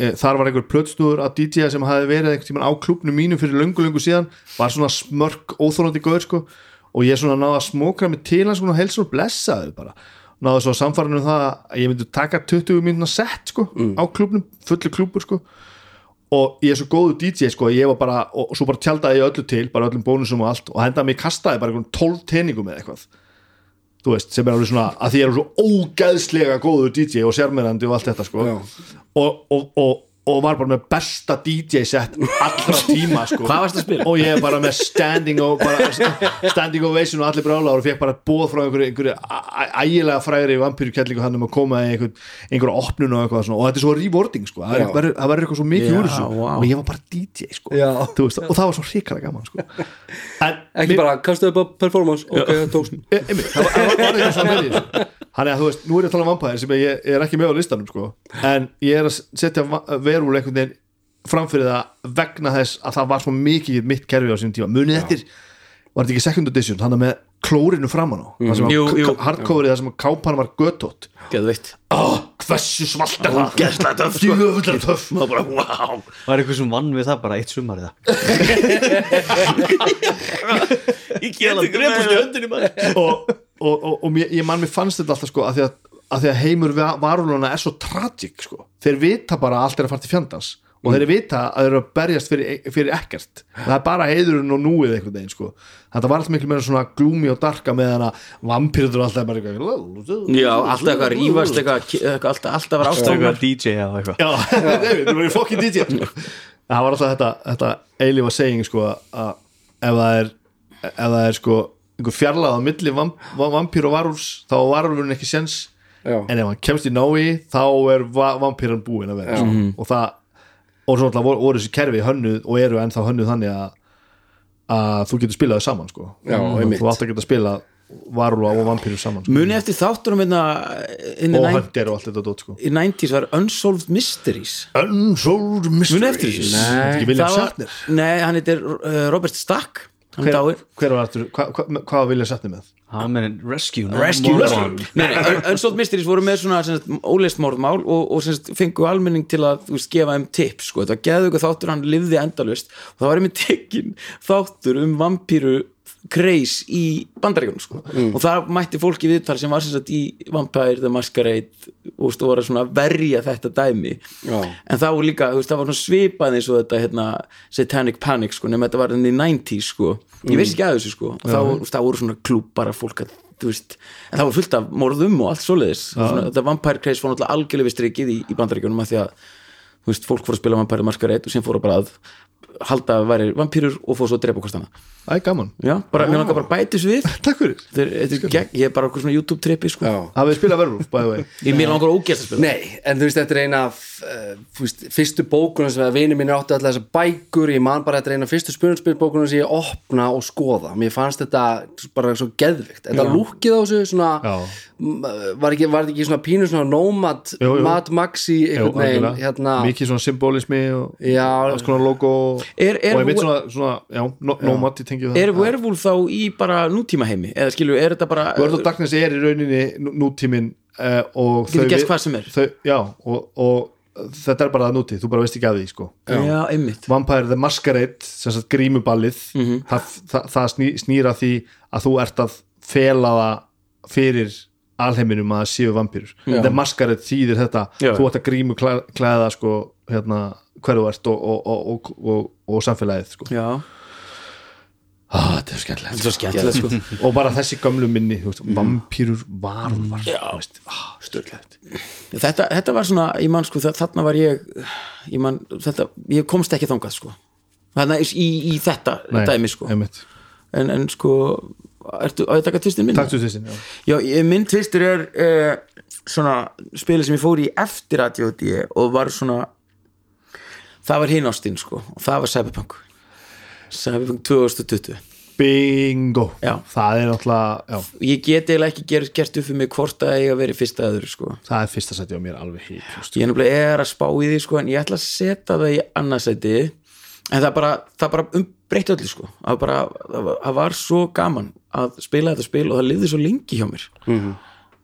Speaker 2: e, þar var einhver plötsnúður að DJ sem hafði verið einhvern tímann á klúbnu mínu fyrir löngu löngu síðan var svona smörk óþólandi góður sko og ég svona náða að smókra mig til hans og helst og blessaði bara náða svo samfarinu um það að ég myndi taka 20 mínúna sett sko á klúbnum fullu klúbur sko og ég er svo góðu DJ sko að ég var bara og svo bara tjaldaði ég öllu til, bara öllum bónusum og allt og hendaði mig kastaði bara einhvern 12 teningum eða eitthvað þú veist, sem er alveg svona að því ég er svo ógæðslega góður DJ og sérmerandi og allt þetta sko
Speaker 3: Já.
Speaker 2: og, og, og, og var bara með besta DJ set allra tíma sko
Speaker 1: Hvað varstu að spila?
Speaker 2: og ég er bara með standing og bara, standing ovation og allir brála og fekk bara bóð frá einhverju, einhverju æ- æ- ægilega fræri vampýru kellingu hann um að koma í einhver, einhverju opnun og eitthvað svona og þetta er svo rewarding sko, það
Speaker 3: Já.
Speaker 2: verður- það verður eitthvað svo mikið
Speaker 1: Já,
Speaker 2: úr þessu
Speaker 1: vá.
Speaker 2: og ég var bara DJ sko
Speaker 3: Já.
Speaker 2: Þú veist, og það var svo hrikalega gaman sko en,
Speaker 3: Ekki bara, kastu upp á performance Ok, það tókst
Speaker 2: E- einmitt, það var, það var- var eitthvað svona með því sko. Þannig að þú veist, nú er ég að tala um vampæðir sem ég, ég er ekki með á listanum sko. en ég er að setja verúl einhvern veginn framfyrir það vegna þess að það var svo mikið mitt kerfi á sínum tíma munið eftir, var þetta ekki second edition þannig að með klórinu framan á mm.
Speaker 1: Mhm. Jú, jú.
Speaker 2: hardcoverið það sem kápan var götótt
Speaker 1: geðveitt
Speaker 2: oh, hversu svalt er það gæsla töff, jöfnlega töff maður bara, wow
Speaker 4: var eitthvað sem vann við það bara eitt sumar það
Speaker 1: ég get ekki drefust í höndinni maður
Speaker 2: og, og, og, og mér, ég mann mér fannst þetta alltaf sko, að, því að, að því að heimur varulana er svo tragic sko. þeir vita bara að allt er að fara til fjandans og
Speaker 1: Mm.
Speaker 2: þeir vita að þeir eru að berjast fyrir, fyrir ekkert það er bara heiðurinn og núið einhvern veginn sko. þetta var allt miklu meira svona glúmi og darka meðan að vampirður alltaf bara eitthvað
Speaker 1: já, alltaf eitthvað að rífast eitthvað, eitthvað alltaf, alltaf var ástofnar
Speaker 4: DJ eða eitthvað
Speaker 2: Já, David, þú verður fokkin DJ Það var alltaf þetta, þetta eilífa seging sko að ef það er, ef það er sko einhver fjarlæð á milli vamp, vampýr og varúls þá er varúlurinn ekki sens
Speaker 3: Já.
Speaker 2: en ef hann kemst í nái þá er va vampýran búinn að vera sko. og það og svo alltaf voru, voru þessi kerfi hönnuð og eru ennþá hönnuð þannig að að þú getur spilað þau saman sko
Speaker 3: Já, einmitt.
Speaker 2: þú átt að geta spilað varúla og vampýru saman sko.
Speaker 1: muni eftir þáttunum hérna inn í
Speaker 2: og
Speaker 1: næn-
Speaker 2: höndir og allt þetta dót sko
Speaker 1: í 90s var Unsolved Mysteries
Speaker 2: Unsolved
Speaker 1: muni eftir
Speaker 2: Mysteries
Speaker 1: þessu
Speaker 2: Þetta er ekki William
Speaker 1: Það var-
Speaker 2: Shatner
Speaker 1: nei, hann heitir uh, Robert Stack hann
Speaker 2: hver,
Speaker 1: dáir
Speaker 2: hver var aftur, hvað hva, hva var Vilja setni með?
Speaker 4: hann meðin Rescue
Speaker 1: Rescue Nei, nei, Un- Unsolved Mysteries voru með svona sem sagt, óleyst mórmál og, og sem sagt, fengu almenning til að þú veist, gefa þeim tips sko. þetta geðu ykkur þáttur, hann lifði endalust og það var einmitt tekinn þáttur um vampíru kreis í bandaríkunum sko. og það mætti fólki viðtal sem var sem sagt, í Vampire the Masquerade og þú voru svona að verja þetta dæmi
Speaker 3: Já.
Speaker 1: en það var líka, þú veist, það var svona svipað eins og þetta hérna, satanic panic sko, nema þetta var enn í 90s sko ég veist ekki að þessu sko, og það, voru- það voru svona klúpar af fólk að, þú veist en það var fullt af morðum og allt svoleiðis svona, þetta vampire craze fór náttúrulega algjörlega við strikið í, í bandaríkjunum að því að, þú veist, fólk fór að spila vampire maskar 1 og sem fór að bara að halda að væri vampýrur og fóð svo að drepa hvort hana
Speaker 2: Æ, gaman
Speaker 1: já, bara, mér langar bara að bætis við
Speaker 2: Takk fyrir
Speaker 1: Þeir, þetta er gegn, ég er bara okkur svona YouTube trippi sko.
Speaker 3: Já.
Speaker 2: Hafið spilað verður, by the way
Speaker 1: ég mér langar ógæst að spila
Speaker 3: Nei, en þú veist, þetta er eina af, uh, þú veist, fyrstu bókunum sem að vinið mín áttu alltaf þessar bækur ég man bara þetta er eina af fyrstu spunnspilbókunum sem ég opna og skoða, mér fannst þetta bara svo geðvikt, þetta lúkið á þessu svona,
Speaker 2: Já.
Speaker 3: m, var ekki, var þetta ekki svona pínu svona nómat
Speaker 2: Jú, jú.
Speaker 3: Mad Maxi,
Speaker 2: Jú,
Speaker 3: einhvern veginn
Speaker 2: algjörlega.
Speaker 3: hérna,
Speaker 2: Mikið svona symbolismi og
Speaker 3: já,
Speaker 2: alls konar logo og-
Speaker 1: Er- er-
Speaker 2: og ég veit svona, svona já, no, nómat ég tengi við það
Speaker 1: er werewolf þá í bara nútíma heimi eða skilju, er þetta bara
Speaker 2: World of Darkness er í rauninni nú- nútíminn uh, og
Speaker 1: Getur
Speaker 2: þau
Speaker 1: gert
Speaker 2: við-
Speaker 1: hvað sem er.
Speaker 2: þau, Já, og, og þetta er bara að núti, þú bara veist ekki að því sko.
Speaker 1: já, einmitt
Speaker 2: Vampire the Masquerade sem sagt grímuballið
Speaker 1: Mhm.
Speaker 2: það, það, það sný, snýra því að þú ert að fela það fyrir alheiminum að það séu vampýrur the Masquerade þýðir þetta
Speaker 1: Já.
Speaker 2: þú ert að grímu klæða sko, hérna, hverðu ert og, og, og, og, og, og samfélagið sko.
Speaker 1: já,
Speaker 2: ah, þetta er skemmtilegt
Speaker 1: þetta er svo skemmtilegt sko.
Speaker 2: og bara þessi gömlu minni þú
Speaker 1: Mm.
Speaker 2: veist, vampýrur varulvar stöðlegt
Speaker 1: þetta, þetta var svona, ég man sko þa- þarna var ég, ég man þetta, ég komst ekki þangað sko þarna í, í, í þetta dæmi sko
Speaker 2: takk
Speaker 1: en, en sko, ertu að ég taka tvistin minn?
Speaker 2: til þessin já.
Speaker 1: Já, ég- minn tvistur er uh, svona spilið sem ég fór í eftir ADOD og var svona það var hinn ástinn sko og það var Cyberpunk Cyberpunk 2020
Speaker 2: bingo,
Speaker 1: Já.
Speaker 2: það er náttúrulega já,
Speaker 1: ég get eiginlega ekki gerð gert upp fyrir mig hvort að eiga að vera í fyrsta aður sko
Speaker 2: það er fyrsta sæti á mér alveg sko. hýtt
Speaker 1: ég er nefnilega er að spá í því sko en ég ætla að setja það í annarsæti en það bara, það bara umbreytti öllu sko það, bara, það, var, það var svo gaman að spila þetta spil og það lifði svo lengi hjá mér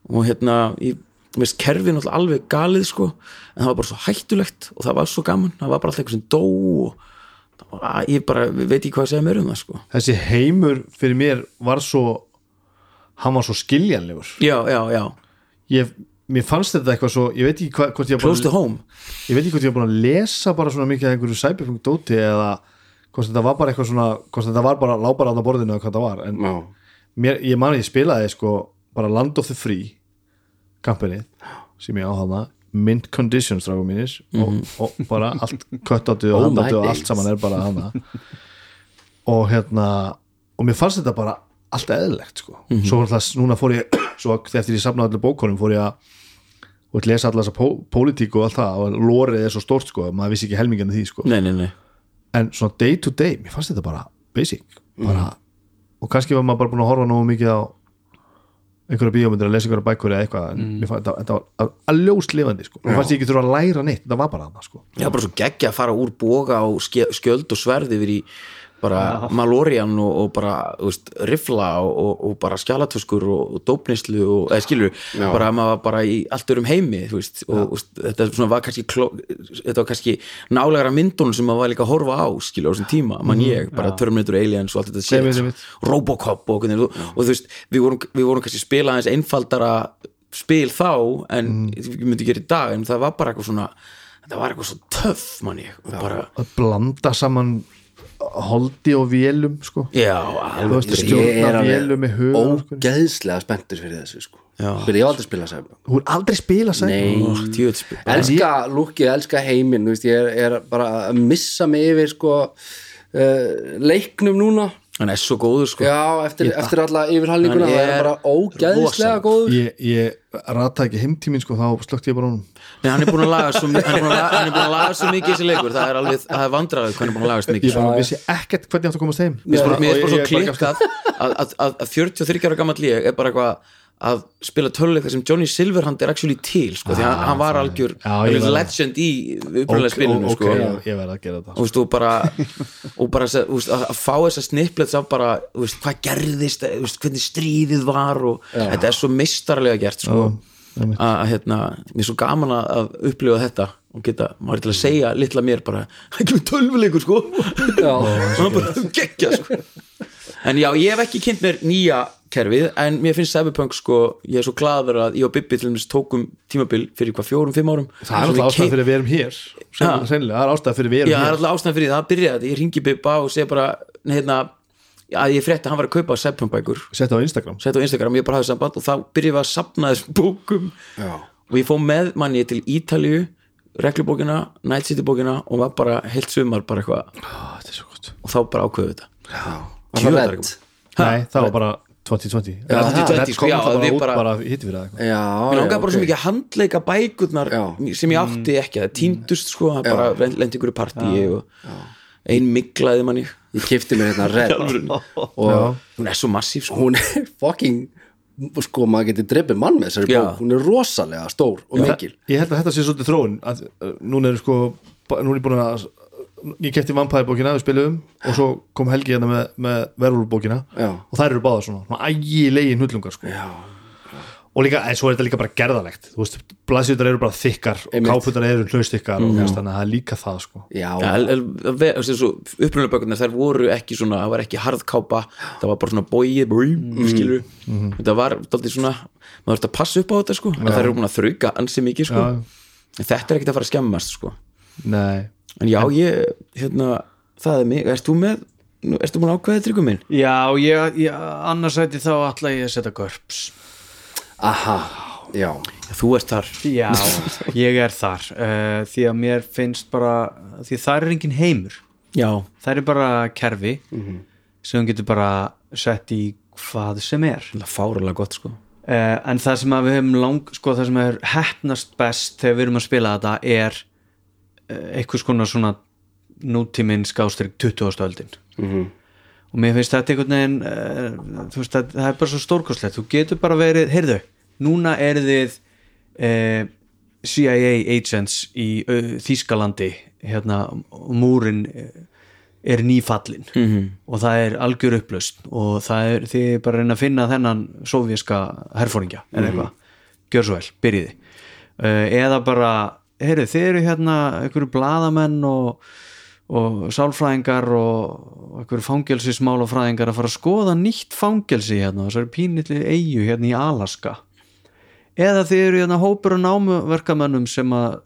Speaker 1: og hérna ég mér finnst kerfið náttúrulega alveg galið sko en það var bara svo hættulegt og það var svo gaman það var bara alltaf eitthvað sem dó og það var, ég bara veit ekki hvað að segja mér um það sko
Speaker 2: þessi heimur fyrir mér var svo hann var svo skiljanlegur
Speaker 1: já, já, já,
Speaker 2: ég, mér fannst þetta eitthvað svo ég veit ekki hvað, hvort ég var
Speaker 1: close to
Speaker 2: búin,
Speaker 1: home
Speaker 2: ég veit ekki hvort ég var búin að lesa bara svona mikið að einhverju cyberpunk dóti eða hvort þetta var bara eitthvað svona hvort þetta var bara lábara á borðinu eða hvað það var en
Speaker 3: já,
Speaker 2: mér, ég man að ég spilaði sko bara Land of the Free kampinni sem ég áhafna mint conditions dragum mínir og, og bara allt köttáttu
Speaker 3: Mhm. Oh
Speaker 2: og
Speaker 3: my
Speaker 2: handáttu og allt
Speaker 3: days.
Speaker 2: saman er bara hana og hérna og mér fannst þetta bara allt eðlilegt sko.
Speaker 3: Mhm.
Speaker 2: svo var það, núna fór ég svo eftir ég safnaði allir bókunum fór ég að og lesa allar þessa pó, pólitík og allt það og lórið er svo stórt sko, maður vissi ekki helminginu því sko
Speaker 1: nei, nei, nei,
Speaker 2: en svona day to day, mér fannst þetta bara basic bara, og kannski var maður bara búin að horfa nógu mikið á einhverja bíómyndir að lesa einhverja bækur eða eitthvað, en mér fannst þetta, þetta var að ljós lifandi, sko, mér fannst ég ekki þurfa að læra neitt þetta var bara annað, sko,
Speaker 1: Já, bara svo geggja að fara úr boga og ske- skjöld og sverði yfir í bara Malorian og, og bara þú veist, rifla og, og, og bara skjálatöskur og, og dópnislu og eða skilur
Speaker 3: Já.
Speaker 1: bara að maður var bara í allt örum heimi þú veist, og þú veist, þetta svona var kannski kló, þetta var kannski nálegra myndun sem maður var líka að horfa á skilur á þessum tíma mann ég, bara Terminator Aliens og allt þetta shit,
Speaker 2: Mhm. Einmitt, einmitt.
Speaker 1: Robocop og, hvernig, og, og þú veist, við vorum, við vorum kannski spila aðeins einfaldara spil þá en
Speaker 2: Mhm.
Speaker 1: ég myndi gera í dag en það var bara eitthvað svona það var eitthvað svo töff mann ég og bara,
Speaker 2: að blanda saman holdi og vélum, sko
Speaker 1: já,
Speaker 2: þú
Speaker 1: alveg
Speaker 2: veist, að
Speaker 3: ég er
Speaker 2: stjórna vélum með
Speaker 3: alveg
Speaker 2: hugan, sko
Speaker 3: ógeðslega spenntur fyrir þessu sko,
Speaker 1: Já.
Speaker 3: fyrir ég hef aldrei spila sæmi
Speaker 2: hún er aldrei spila sæt
Speaker 3: nei,
Speaker 1: djöðs
Speaker 3: elska lúkið, elska heiminn þú veist, ég er, er bara að missa mig yfir sko uh, leiknum núna
Speaker 1: hann er svo góður sko
Speaker 3: já, eftir, eftir alla yfirhallinguna
Speaker 1: Hann
Speaker 3: það er
Speaker 1: er
Speaker 3: bara ógæðislega
Speaker 1: rosaleg.
Speaker 3: góður
Speaker 2: ég, ég rataði ekki heimtímin, sko, þá slökti ég bara honum
Speaker 1: Nei, hann er búin að laga svo, mi- hann er búin að laga, hann er búin að laga svo mikið þessi leikur, það er alveg, það er vandræður hvað hann er búin að laga svo
Speaker 2: ég
Speaker 1: mikið sko.
Speaker 2: bara vissi ekkert hvernig ég átt að komast heim
Speaker 1: mér er bara, mér
Speaker 2: Og
Speaker 1: er bara
Speaker 2: ég-
Speaker 1: svo
Speaker 2: ég bara-
Speaker 1: klikkað að, að, að, að 43 ára gammal ég er bara eitthvað að spila töluleika sem Johnny Silverhand er actually til sko, því hann, hann var algjör
Speaker 2: Ah, Já, ég
Speaker 1: alveg
Speaker 2: var-
Speaker 1: legend í uppræðlega spilinu
Speaker 2: Ok,
Speaker 1: sko.
Speaker 2: ég- ég verði að gera þetta
Speaker 1: og, veist, og bara, og bara að, veist, að að fá þessa snipplets af bara þú veist, hvað gerðist, þú veist, hvernig stríðið var og þetta er svo mistarlega gert sko, að að, hérna mér er svo gaman að- að upplifa þetta og geta, maður er til að segja litla mér bara, það kemur tölvuleikur sko
Speaker 3: já,
Speaker 1: og bara geggja sko en já, ég hef ekki kynnt mér nýja kerfið en mér finnst Cyberpunk sko ég er svo gladur að ég og Bibbi til dæmis tókum tímabil fyrir hvað fjórum, fimm árum
Speaker 2: Það er
Speaker 1: Svo við
Speaker 2: alltaf ástæð
Speaker 1: keypt-
Speaker 2: fyrir að við erum hér sko,
Speaker 1: Ha.
Speaker 2: Sennilega, það er ástæð fyrir að við erum
Speaker 1: Já, það er
Speaker 2: hér
Speaker 1: alltaf ástæðan fyrir því, það byrjaði þetta ég ringi Bibba og segi bara nei, hérna, að ég frétti að hann var að kaupa Cyberpunk-bækur,
Speaker 2: Setta á Instagram sko.
Speaker 1: sett á Instagram, ég bara hafði samband og þá byrjaði við að sapna þessum bókum
Speaker 3: já.
Speaker 1: og ég fó með manni til Ítalju reglubókina, Night City bókina og var bara heilt sumar bara eitthvað
Speaker 4: þetta er svo gott
Speaker 1: og þá bara ákveðu þetta
Speaker 3: Var það
Speaker 1: Djöfull er
Speaker 3: redd?
Speaker 1: ekki-
Speaker 2: Nei, það var bara 2020
Speaker 3: Já,
Speaker 2: Red-
Speaker 1: 2020,
Speaker 2: Red
Speaker 1: sko,
Speaker 2: kom
Speaker 1: já,
Speaker 2: alltaf bara
Speaker 1: við
Speaker 2: út
Speaker 1: bara-
Speaker 2: bara hitti fyrir það sko.
Speaker 3: Já,
Speaker 1: Mér
Speaker 3: já,
Speaker 1: langaði bara svo
Speaker 3: ok.
Speaker 1: mikið að handleika bækurnar
Speaker 3: Já.
Speaker 1: sem ég átti ekki, það týndust sko það bara lendi ykkur í partíi og ein miklaði manni
Speaker 3: Ég kefti mér hérna redd
Speaker 2: Já.
Speaker 3: Og
Speaker 1: hún er svo massíf sko
Speaker 3: hún er fucking Sko, maður getur dreipið mann með þessari
Speaker 1: Já.
Speaker 3: bók Hún er rosalega stór og mikil
Speaker 2: Ég held að þetta sé svolítið þróun að, uh, Núna er sko ba- Núna er ég búin að Ég kefti vampæðbókina við spilum og svo kom Helgi hérna með, með verðurlbókina
Speaker 3: Já.
Speaker 2: og þær eru báðar svona, svona ægilegin hullungar sko.
Speaker 3: Já.
Speaker 2: og líka, en svo er þetta líka bara gerðalegt þú veist, blæsjöðar eru bara þykkar
Speaker 3: Einmitt.
Speaker 2: og káputar eru hlaustikkar
Speaker 1: Mhm.
Speaker 2: og þú veist, þannig að það er líka það sko.
Speaker 3: Já,
Speaker 1: Já, el- el- ve- þú veist, þessu upprunalega bækurnar þær voru ekki svona, það var ekki harðkápa það var bara svona bóið, mm. skilur þetta var daldið svona maður þurfti að passa upp á þetta sko en þær eru búin að þrauka ansi mikið sko
Speaker 2: Já.
Speaker 1: en þetta er ekkert að fara að skemmast sko
Speaker 2: Nei,
Speaker 1: en já, ég, hérna, það er mig erst þú með, nú, erst þú búin að ákveða tryggum minn?
Speaker 4: Já, ég, ég, annars ætti þá ætla ég að setja görps
Speaker 3: aha, já
Speaker 1: Þú ert þar
Speaker 4: Já, ég er þar uh, því að mér finnst bara því þar er engin heimur
Speaker 1: Já,
Speaker 4: það er bara kerfi sem hún getur bara sett í hvað sem er
Speaker 1: það fáralega gott sko
Speaker 4: uh, en það sem að við höfum lang sko það sem er hefnast best þegar við erum að spila þetta er uh, einhvers konar svona nútíminn skástrík 20. öldin og mér finnst þetta einhvern veginn uh, þú veist það, það er bara svo stórkostlegt þú getur bara verið, heyrðu núna er þið uh, CIA agents í uh, Þýskalandi hérna múrin uh, er nýfallin -hmm. og það er algjör upplaust og það er, þið er bara að reyna að finna þennan sovjíska herfóringja eða eitthvað, gjör svo vel, byrjiði uh, eða bara, heyrðu þið eru hérna einhverju blaðamenn og, og sálfræðingar og einhverju fangelsismál og fræðingar að fara að skoða nýtt fangelsi hérna, þessari pínilli eigu hérna í Alaska eða þið eru hérna hópur og námuverkamönnum sem að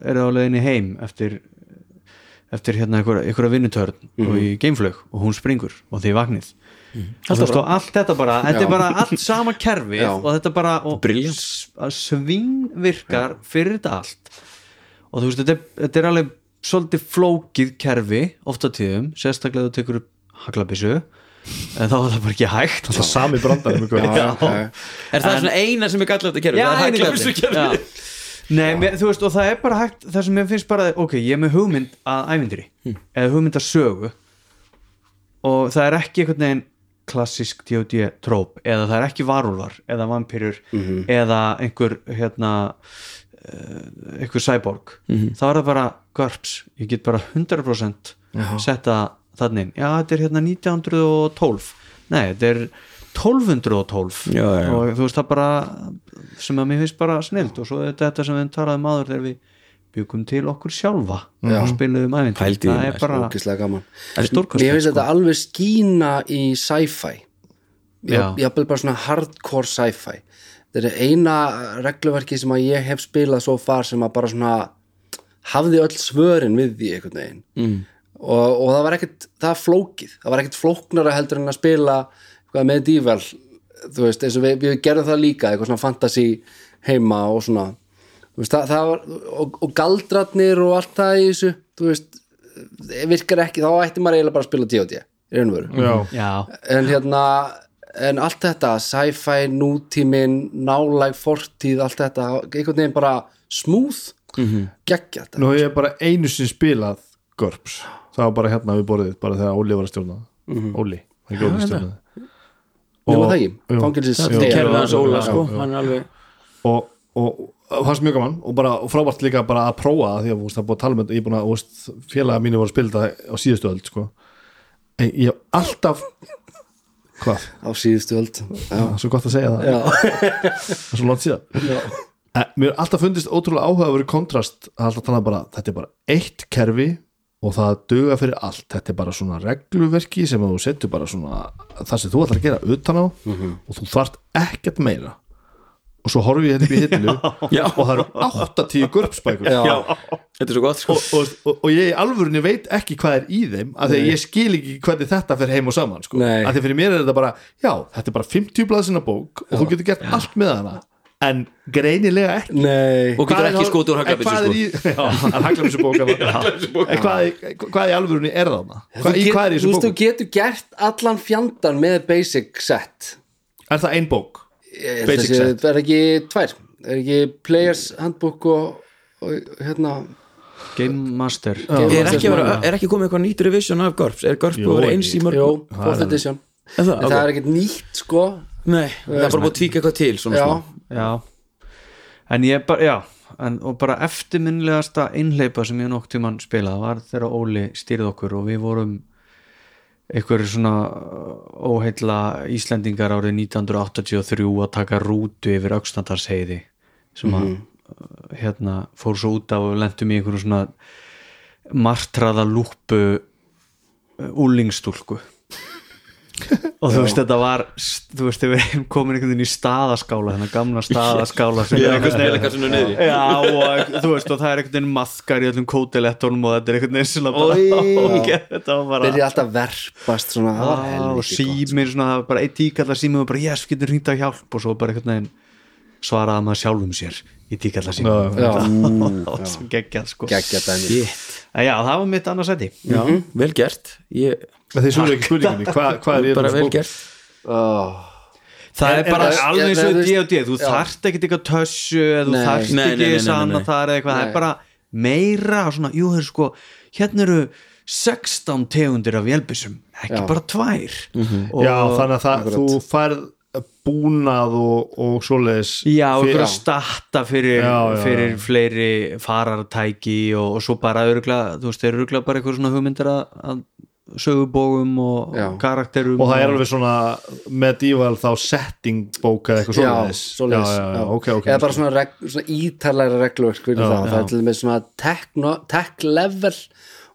Speaker 4: eru á leiðinni heim eftir eftir hérna einhverja, einhverja vinnutörn
Speaker 1: Mhm.
Speaker 4: og í geimflög og hún springur og þið vagnið og þú veist og allt þetta bara þetta er bara allt sama kerfi
Speaker 3: Já.
Speaker 4: og þetta bara og
Speaker 1: Brilliant.
Speaker 4: s- að svingvirkar fyrir þetta allt og þú veist þetta, er- þetta er alveg svolítið flókið kerfi ofta tíðum, sérstaklega þú tekur upp haglabissu en þá er það bara ekki hægt
Speaker 2: það er sami brandar um ykkur.
Speaker 3: Já, já.
Speaker 1: Er það svona eina sem er gallið þetta kerfi?
Speaker 4: Já,
Speaker 1: það er
Speaker 4: eini
Speaker 1: hæglega
Speaker 4: gallinn. Já. Nei, mér, þú veist, og það er bara hægt það sem mér finnst bara, ok, ég er með hugmynd að ævindri,
Speaker 1: Hmm.
Speaker 4: eða hugmynd að sögu og það er ekki einhvern veginn klassísk D.O.D. tróp eða það er ekki varúlvar eða vampýrur
Speaker 1: Mhm.
Speaker 4: eða einhver hérna eh, einhver cyborg
Speaker 1: Mhm.
Speaker 4: þá er það bara görps ég get bara 100% setta þannig inn, já þetta er hérna 1912 nei þetta er 1212
Speaker 1: Já, já, já.
Speaker 4: og þú veist það bara sem að mér finnst bara snilt og svo er þetta sem við talaðum áður þegar við byggum til okkur sjálfa og spiluðum aðeins
Speaker 1: Pældu í
Speaker 4: það
Speaker 1: því,
Speaker 4: er bara
Speaker 3: ógislega gaman
Speaker 1: Það er stórkostlegt,
Speaker 3: Mér finnst þetta alveg skína í sci-fi
Speaker 4: Já.
Speaker 3: Ég hafði bara svona hardcore sci-fi Þetta er eina regluverki sem að ég hef spilað svo far sem að bara svona hafði öll svörin við því einhvern veginn mm. og, og það var ekkert það var flókið, það var ekkert flóknara heldur en að spila eitthvað með díval þú veist, eins og við, við gerðum það líka eitthvað svona fantasy heima og svona þú veist, það, það var, og, og galdratnir og allt það í þessu þú veist, eh, virkar ekki, þá ætti maður eiginlega bara að spila D.O.D. í raun og veru
Speaker 2: Já.
Speaker 4: já,
Speaker 3: en hérna en allt þetta, sci-fi, nútímin nálæg fortíð, allt þetta einhvern veginn bara smooth mm -hmm. geggja þetta
Speaker 2: Nú hef ég bara einu sinni spilað Görps, það var bara hérna við borðið bara þegar Óli var að stjórna Óli, hann ekki Óli stjórna
Speaker 3: Nefna það ekki, fangelsis
Speaker 1: Það er
Speaker 3: Já,
Speaker 1: kerfið hans
Speaker 3: já,
Speaker 1: Óla
Speaker 3: já,
Speaker 1: sko
Speaker 3: já.
Speaker 1: Hann er alveg
Speaker 2: og, og, og fannst mjög gaman og bara og frábært líka bara að prófa það því að þú veist, það er búið að tala með ég er búin að þú veist, félaga mínu voru að spila þetta á síðustu öld sko. en ég hef alltaf hvað,
Speaker 3: Á síðustu öld Já,
Speaker 2: það er svo gott að segja það
Speaker 3: já,
Speaker 2: það er svo langt síðan
Speaker 3: já.
Speaker 2: en, mér hef alltaf fundist ótrúlega áhuga að vera kontrast að alltaf tala bara, þetta er bara eitt kerfi og það duga fyrir allt þetta er bara svona regluverki sem þú setur bara svona það sem þú ætlar að gera utan á
Speaker 3: Mhm.
Speaker 2: og þú þarft ekkert meira og svo horfi ég þetta upp í hillu
Speaker 1: Já.
Speaker 2: og það eru 80 görpsbækur
Speaker 3: Já.
Speaker 1: Þetta er svo gott sko
Speaker 2: og, og, og, og ég í alvörunni veit ekki hvað er í þeim af því að ég skil ekki hvernig þetta fer heim og saman sko.
Speaker 3: Nei.
Speaker 2: af því fyrir mér er þetta bara já, þetta er bara 50 blaðsina bók og þú getur gert allt með hana en greinilega ekki
Speaker 3: Nei
Speaker 1: og getur ekki skotið úr
Speaker 2: En hvað er
Speaker 1: haglabyttu sko.
Speaker 2: í- Já, hann haglabysu bóka En hvað í- hvað í alvörunni er það
Speaker 3: Þú
Speaker 2: Hvað í-
Speaker 3: get-
Speaker 2: hvað er í
Speaker 3: þú
Speaker 2: þessu
Speaker 3: veist, Þú
Speaker 2: bóku?
Speaker 3: getur gert allan fjandan með basic set
Speaker 2: Er það ein bók?
Speaker 3: Ég held að
Speaker 2: Basic
Speaker 3: sé-
Speaker 2: set.
Speaker 3: Það er ekki tvær Það er ekki players handbook og, og hérna
Speaker 4: Game Master
Speaker 1: er ekki, að vera, er ekki komið eitthvað nýtt revision af GURPS er GURPS
Speaker 2: Jú,
Speaker 1: búið að vera
Speaker 2: ég-
Speaker 1: eins í mörg
Speaker 3: Jó, fourth edition
Speaker 1: Er það,
Speaker 3: En það er ekkert nýtt sko
Speaker 1: Nei, það er bara búið að tvíka eitthvað til svona,
Speaker 3: Já,
Speaker 1: svona.
Speaker 4: Já En ég bara, já en, Og bara eftirminnilegasta einhleipa sem ég nokk tímann spilaði var þegar Óli stýrði okkur og við vorum einhverju svona uh, óheilla Íslendingar árið 1983 að taka rútu yfir Öxnandarsheiði sem að uh, hérna fór svo út af og lentum í einhverju svona martraða lúpu úlingstúlku og þú veist þetta var þú veist við erum komin einhvern veginn í staðaskála þennan gamla staðaskála sem er einhvern veginn
Speaker 1: eitthvað svona niðri
Speaker 4: Já, og þú veist, og það er einhvern veginn maðkar í öllum kótilettunum og þetta er einhvern veginn svona bara, ok, þetta var bara
Speaker 3: byrja alltaf verpast svona það
Speaker 4: Á,
Speaker 3: var
Speaker 4: Ah, og
Speaker 3: helviti gott.
Speaker 4: símir, svona, það var bara eitt tíkallar sími og bara, yes, við getum hringt á hjálp og svo bara einhvern veginn svaraði maður sjálfum sér í tíkallar sími
Speaker 2: Já,
Speaker 3: Já,
Speaker 4: það var svo geggjað, sko
Speaker 3: geggja dæmi
Speaker 1: Shit.
Speaker 4: En já, það var mitt annars seti
Speaker 1: Já,
Speaker 3: Mhm.
Speaker 1: vel gert ég,
Speaker 2: En Þið svöru ekki spurningunni Hvað hvað er í
Speaker 1: bara
Speaker 2: þessu
Speaker 1: vel
Speaker 2: bóku?
Speaker 1: gert
Speaker 3: oh.
Speaker 4: Það er
Speaker 3: en-
Speaker 4: bara
Speaker 3: en-
Speaker 4: alveg eins
Speaker 3: en-
Speaker 4: og
Speaker 3: en-
Speaker 4: D og D þú
Speaker 3: Já.
Speaker 4: þarft ekkert eitthvað tössu eða þú
Speaker 3: Nei.
Speaker 4: þarft
Speaker 1: Nei, nei,
Speaker 4: ekki
Speaker 1: nei, nei,
Speaker 4: þess að
Speaker 1: nei,
Speaker 4: annað
Speaker 1: nei.
Speaker 4: það er eitthvað, það
Speaker 3: Nei.
Speaker 4: er bara meira svona, jú, það er sko hérna eru 16 tegundir af vélbissum, ekki
Speaker 3: Já.
Speaker 4: bara tvær og,
Speaker 2: Já, þannig að það- þú færð búnað og, og svoleiðis
Speaker 4: Já, og
Speaker 2: fyrir-
Speaker 4: einhverja starta fyrir,
Speaker 2: Já, já,
Speaker 4: fyrir
Speaker 2: já.
Speaker 4: fleiri farartæki og, og svo bara örugla, þú veist, þeir örugla bara einhver svona hugmyndir að, að sögubógum og
Speaker 3: Já.
Speaker 4: karakterum
Speaker 2: og það er alveg svona medieval þá setting bók eða eitthvað
Speaker 3: Já,
Speaker 2: svoleiðis
Speaker 3: svoleiðis,
Speaker 2: já, já, já, ok, ok
Speaker 3: eða bara svona, reg, svona ítalæra reglverk fyrir það, það er til með svona tech, no- tech level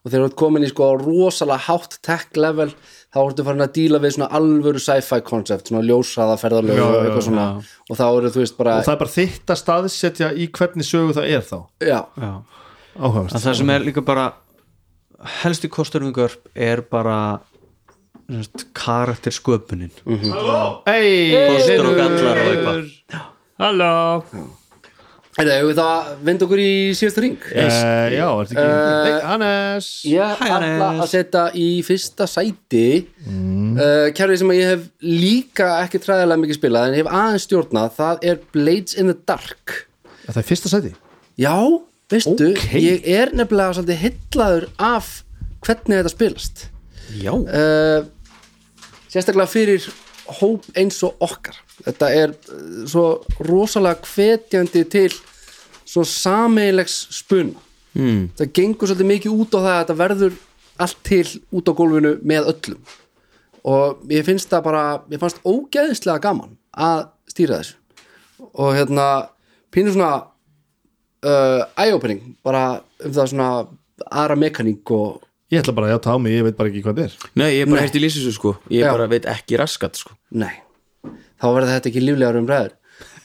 Speaker 3: og þegar þú ert komin í sko rosalega hátt tech level þá ertu farin að díla við svona alvöru sci-fi concept, svona ljósraða ferðarlög
Speaker 2: Já,
Speaker 3: og
Speaker 2: já,
Speaker 3: eitthvað svona og þá eru þú veist bara
Speaker 2: og það er bara þitt að staðsetja í hvernig sögu það er þá
Speaker 3: já,
Speaker 4: Já.
Speaker 2: áhugavert
Speaker 4: að það sem er líka bara helsti kostur um görp er bara semst, karakter sköpunin
Speaker 1: kostur og gallar og eitthvað
Speaker 3: er það, við það vind okkur í síðasta ring
Speaker 2: Uh, já, er þetta ekki Nei, Hannes
Speaker 3: Eh, ég ætla
Speaker 4: Hannes.
Speaker 3: að setja í fyrsta sæti mm. uh, kærfið sem að ég hef líka ekki træðilega mikið spilað en ég hef aðeins stjórnað, það er Blades in the Dark
Speaker 2: Það er fyrsta sæti
Speaker 3: Já, veistu,
Speaker 2: Ókei.
Speaker 3: ég er nefnilega svolítið hillaður af hvernig þetta spilast
Speaker 1: Já,
Speaker 3: uh, sérstaklega fyrir hóp eins og okkar þetta er eh, svo rosalega hvetjandi til svo sameilegs spuna mm. það gengur svolítið mikið út á það að þetta verður allt til út á gólfinu með öllum og ég finnst það bara, ég fannst ógeðislega gaman að stýra þessu og hérna pínur svona uh, eye-opening bara um það svona aðra mekaník og
Speaker 2: Ég ætla bara að játa á mig, ég veit bara ekki hvað það er
Speaker 1: nei, ég er bara hægt í lýsinsu sko Ég
Speaker 3: Já.
Speaker 1: bara veit ekki raskat sko
Speaker 3: Nei, þá verða þetta ekki líflegar um ræður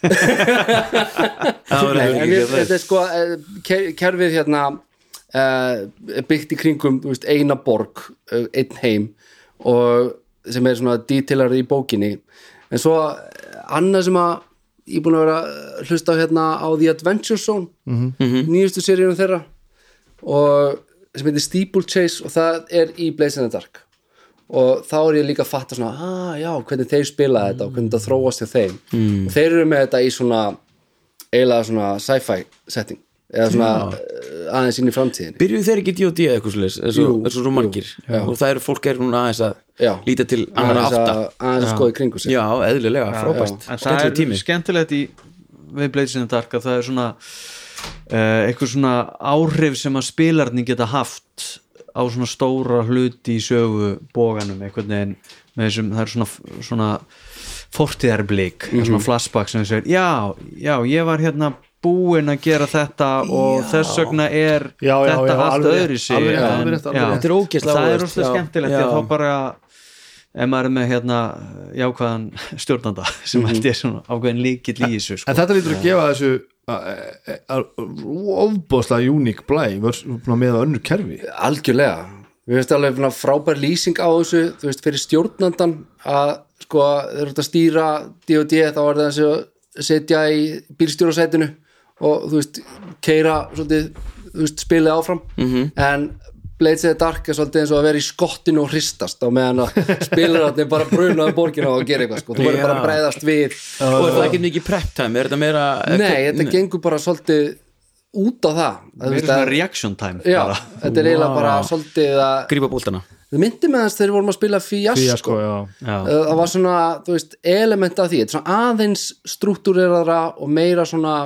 Speaker 3: Nei, en ég- þetta er sko eh, ker- kerfið hérna uh, byggt í kringum þú veist, eina borg, eh, einn heim og sem er svona detailar í bókinni en svo eh, annað sem að ég er búin að vera að hlusta á hérna á The Adventure Zone nýjustu seríunum þeirra og sem heitir Steeplechase og það er í Blaze in the Dark og þá er ég líka að fatta svona ah, já, hvernig þeir spila þetta og hvernig þetta þróast hjá þeim og þeir eru með þetta í svona eiginlega svona sci-fi setting eða svona eh, aðeins inn í framtíðinni
Speaker 1: Byrjuðu þeir ekki í D&D eða eitthvað svoleiðis eins og
Speaker 3: Jú,
Speaker 1: eins og svo margir og það eru fólk er núna aðeins
Speaker 3: Já.
Speaker 1: að líta til annan
Speaker 3: aðeins
Speaker 1: átta
Speaker 3: að, aðeins að skoða í kringu sig
Speaker 1: Já, eðlilega,
Speaker 4: en
Speaker 1: frábært
Speaker 4: það er
Speaker 1: Skemmtileg tími
Speaker 4: skemmtilegt í við Blazing the Dark að það er svona uh, eitthvað svona áhrif sem að spilarni geta haft á svona stóra hluti í sögu bóganum einhvern veginn með þessum, það er svona, svona fortíðarblík
Speaker 2: Mhm.
Speaker 4: svona flashback sem segir já, já, ég var hérna búinn að gera þetta og þess vegna er
Speaker 2: Já, já,
Speaker 4: þetta
Speaker 2: já,
Speaker 4: allt
Speaker 2: alveg rétt,
Speaker 4: öðru sig
Speaker 2: alveg rétt, alveg rétt, alveg rétt.
Speaker 1: Þetta er ógeðslega
Speaker 4: það er
Speaker 1: áhugavert,
Speaker 4: óslega
Speaker 1: já,
Speaker 4: skemmtilegt
Speaker 1: já.
Speaker 4: já. þá bara ef maður er með hérna jákvæðan stjórnanda sem held ég svona ákveðin líkill í þessu sko.
Speaker 2: En þetta lítur að gefa þessu eh, eh, ofboðslega uník blæ vörs- með að önnur kerfi
Speaker 3: algjörlega við veist alveg svona frábær lýsing á þessu þú veist fyrir stjórnandan að sko þeir eru út að stýra D&D þá er það þessu setja í bílstjórasætinu og þú veist, keira svolítið, þú veist, spilið áfram -hmm. en Blades of the Dark er svolítið eins og að vera í skottinu og hristast á meðan að spilararnir bara brunaðu borgina og gera eitthvað sko, þú verður bara að
Speaker 1: Já.
Speaker 3: bregðast við
Speaker 1: og er það ekki mikið prep time, er þetta meira
Speaker 3: Nei, þetta gengur bara svolítið út á það Þú
Speaker 4: Meira
Speaker 3: veist
Speaker 4: svona
Speaker 3: að-
Speaker 4: reaction time
Speaker 3: Já,
Speaker 4: bara.
Speaker 3: þetta er eiginlega bara svolítið að
Speaker 1: grípa bóltana
Speaker 3: Þið myndi með þess þegar við vorum að spila Fiasco
Speaker 2: sko, já,
Speaker 4: Já.
Speaker 3: Uh, það var svona, þú veist, element af því þetta er svona aðeins struktúreraðra og meira svona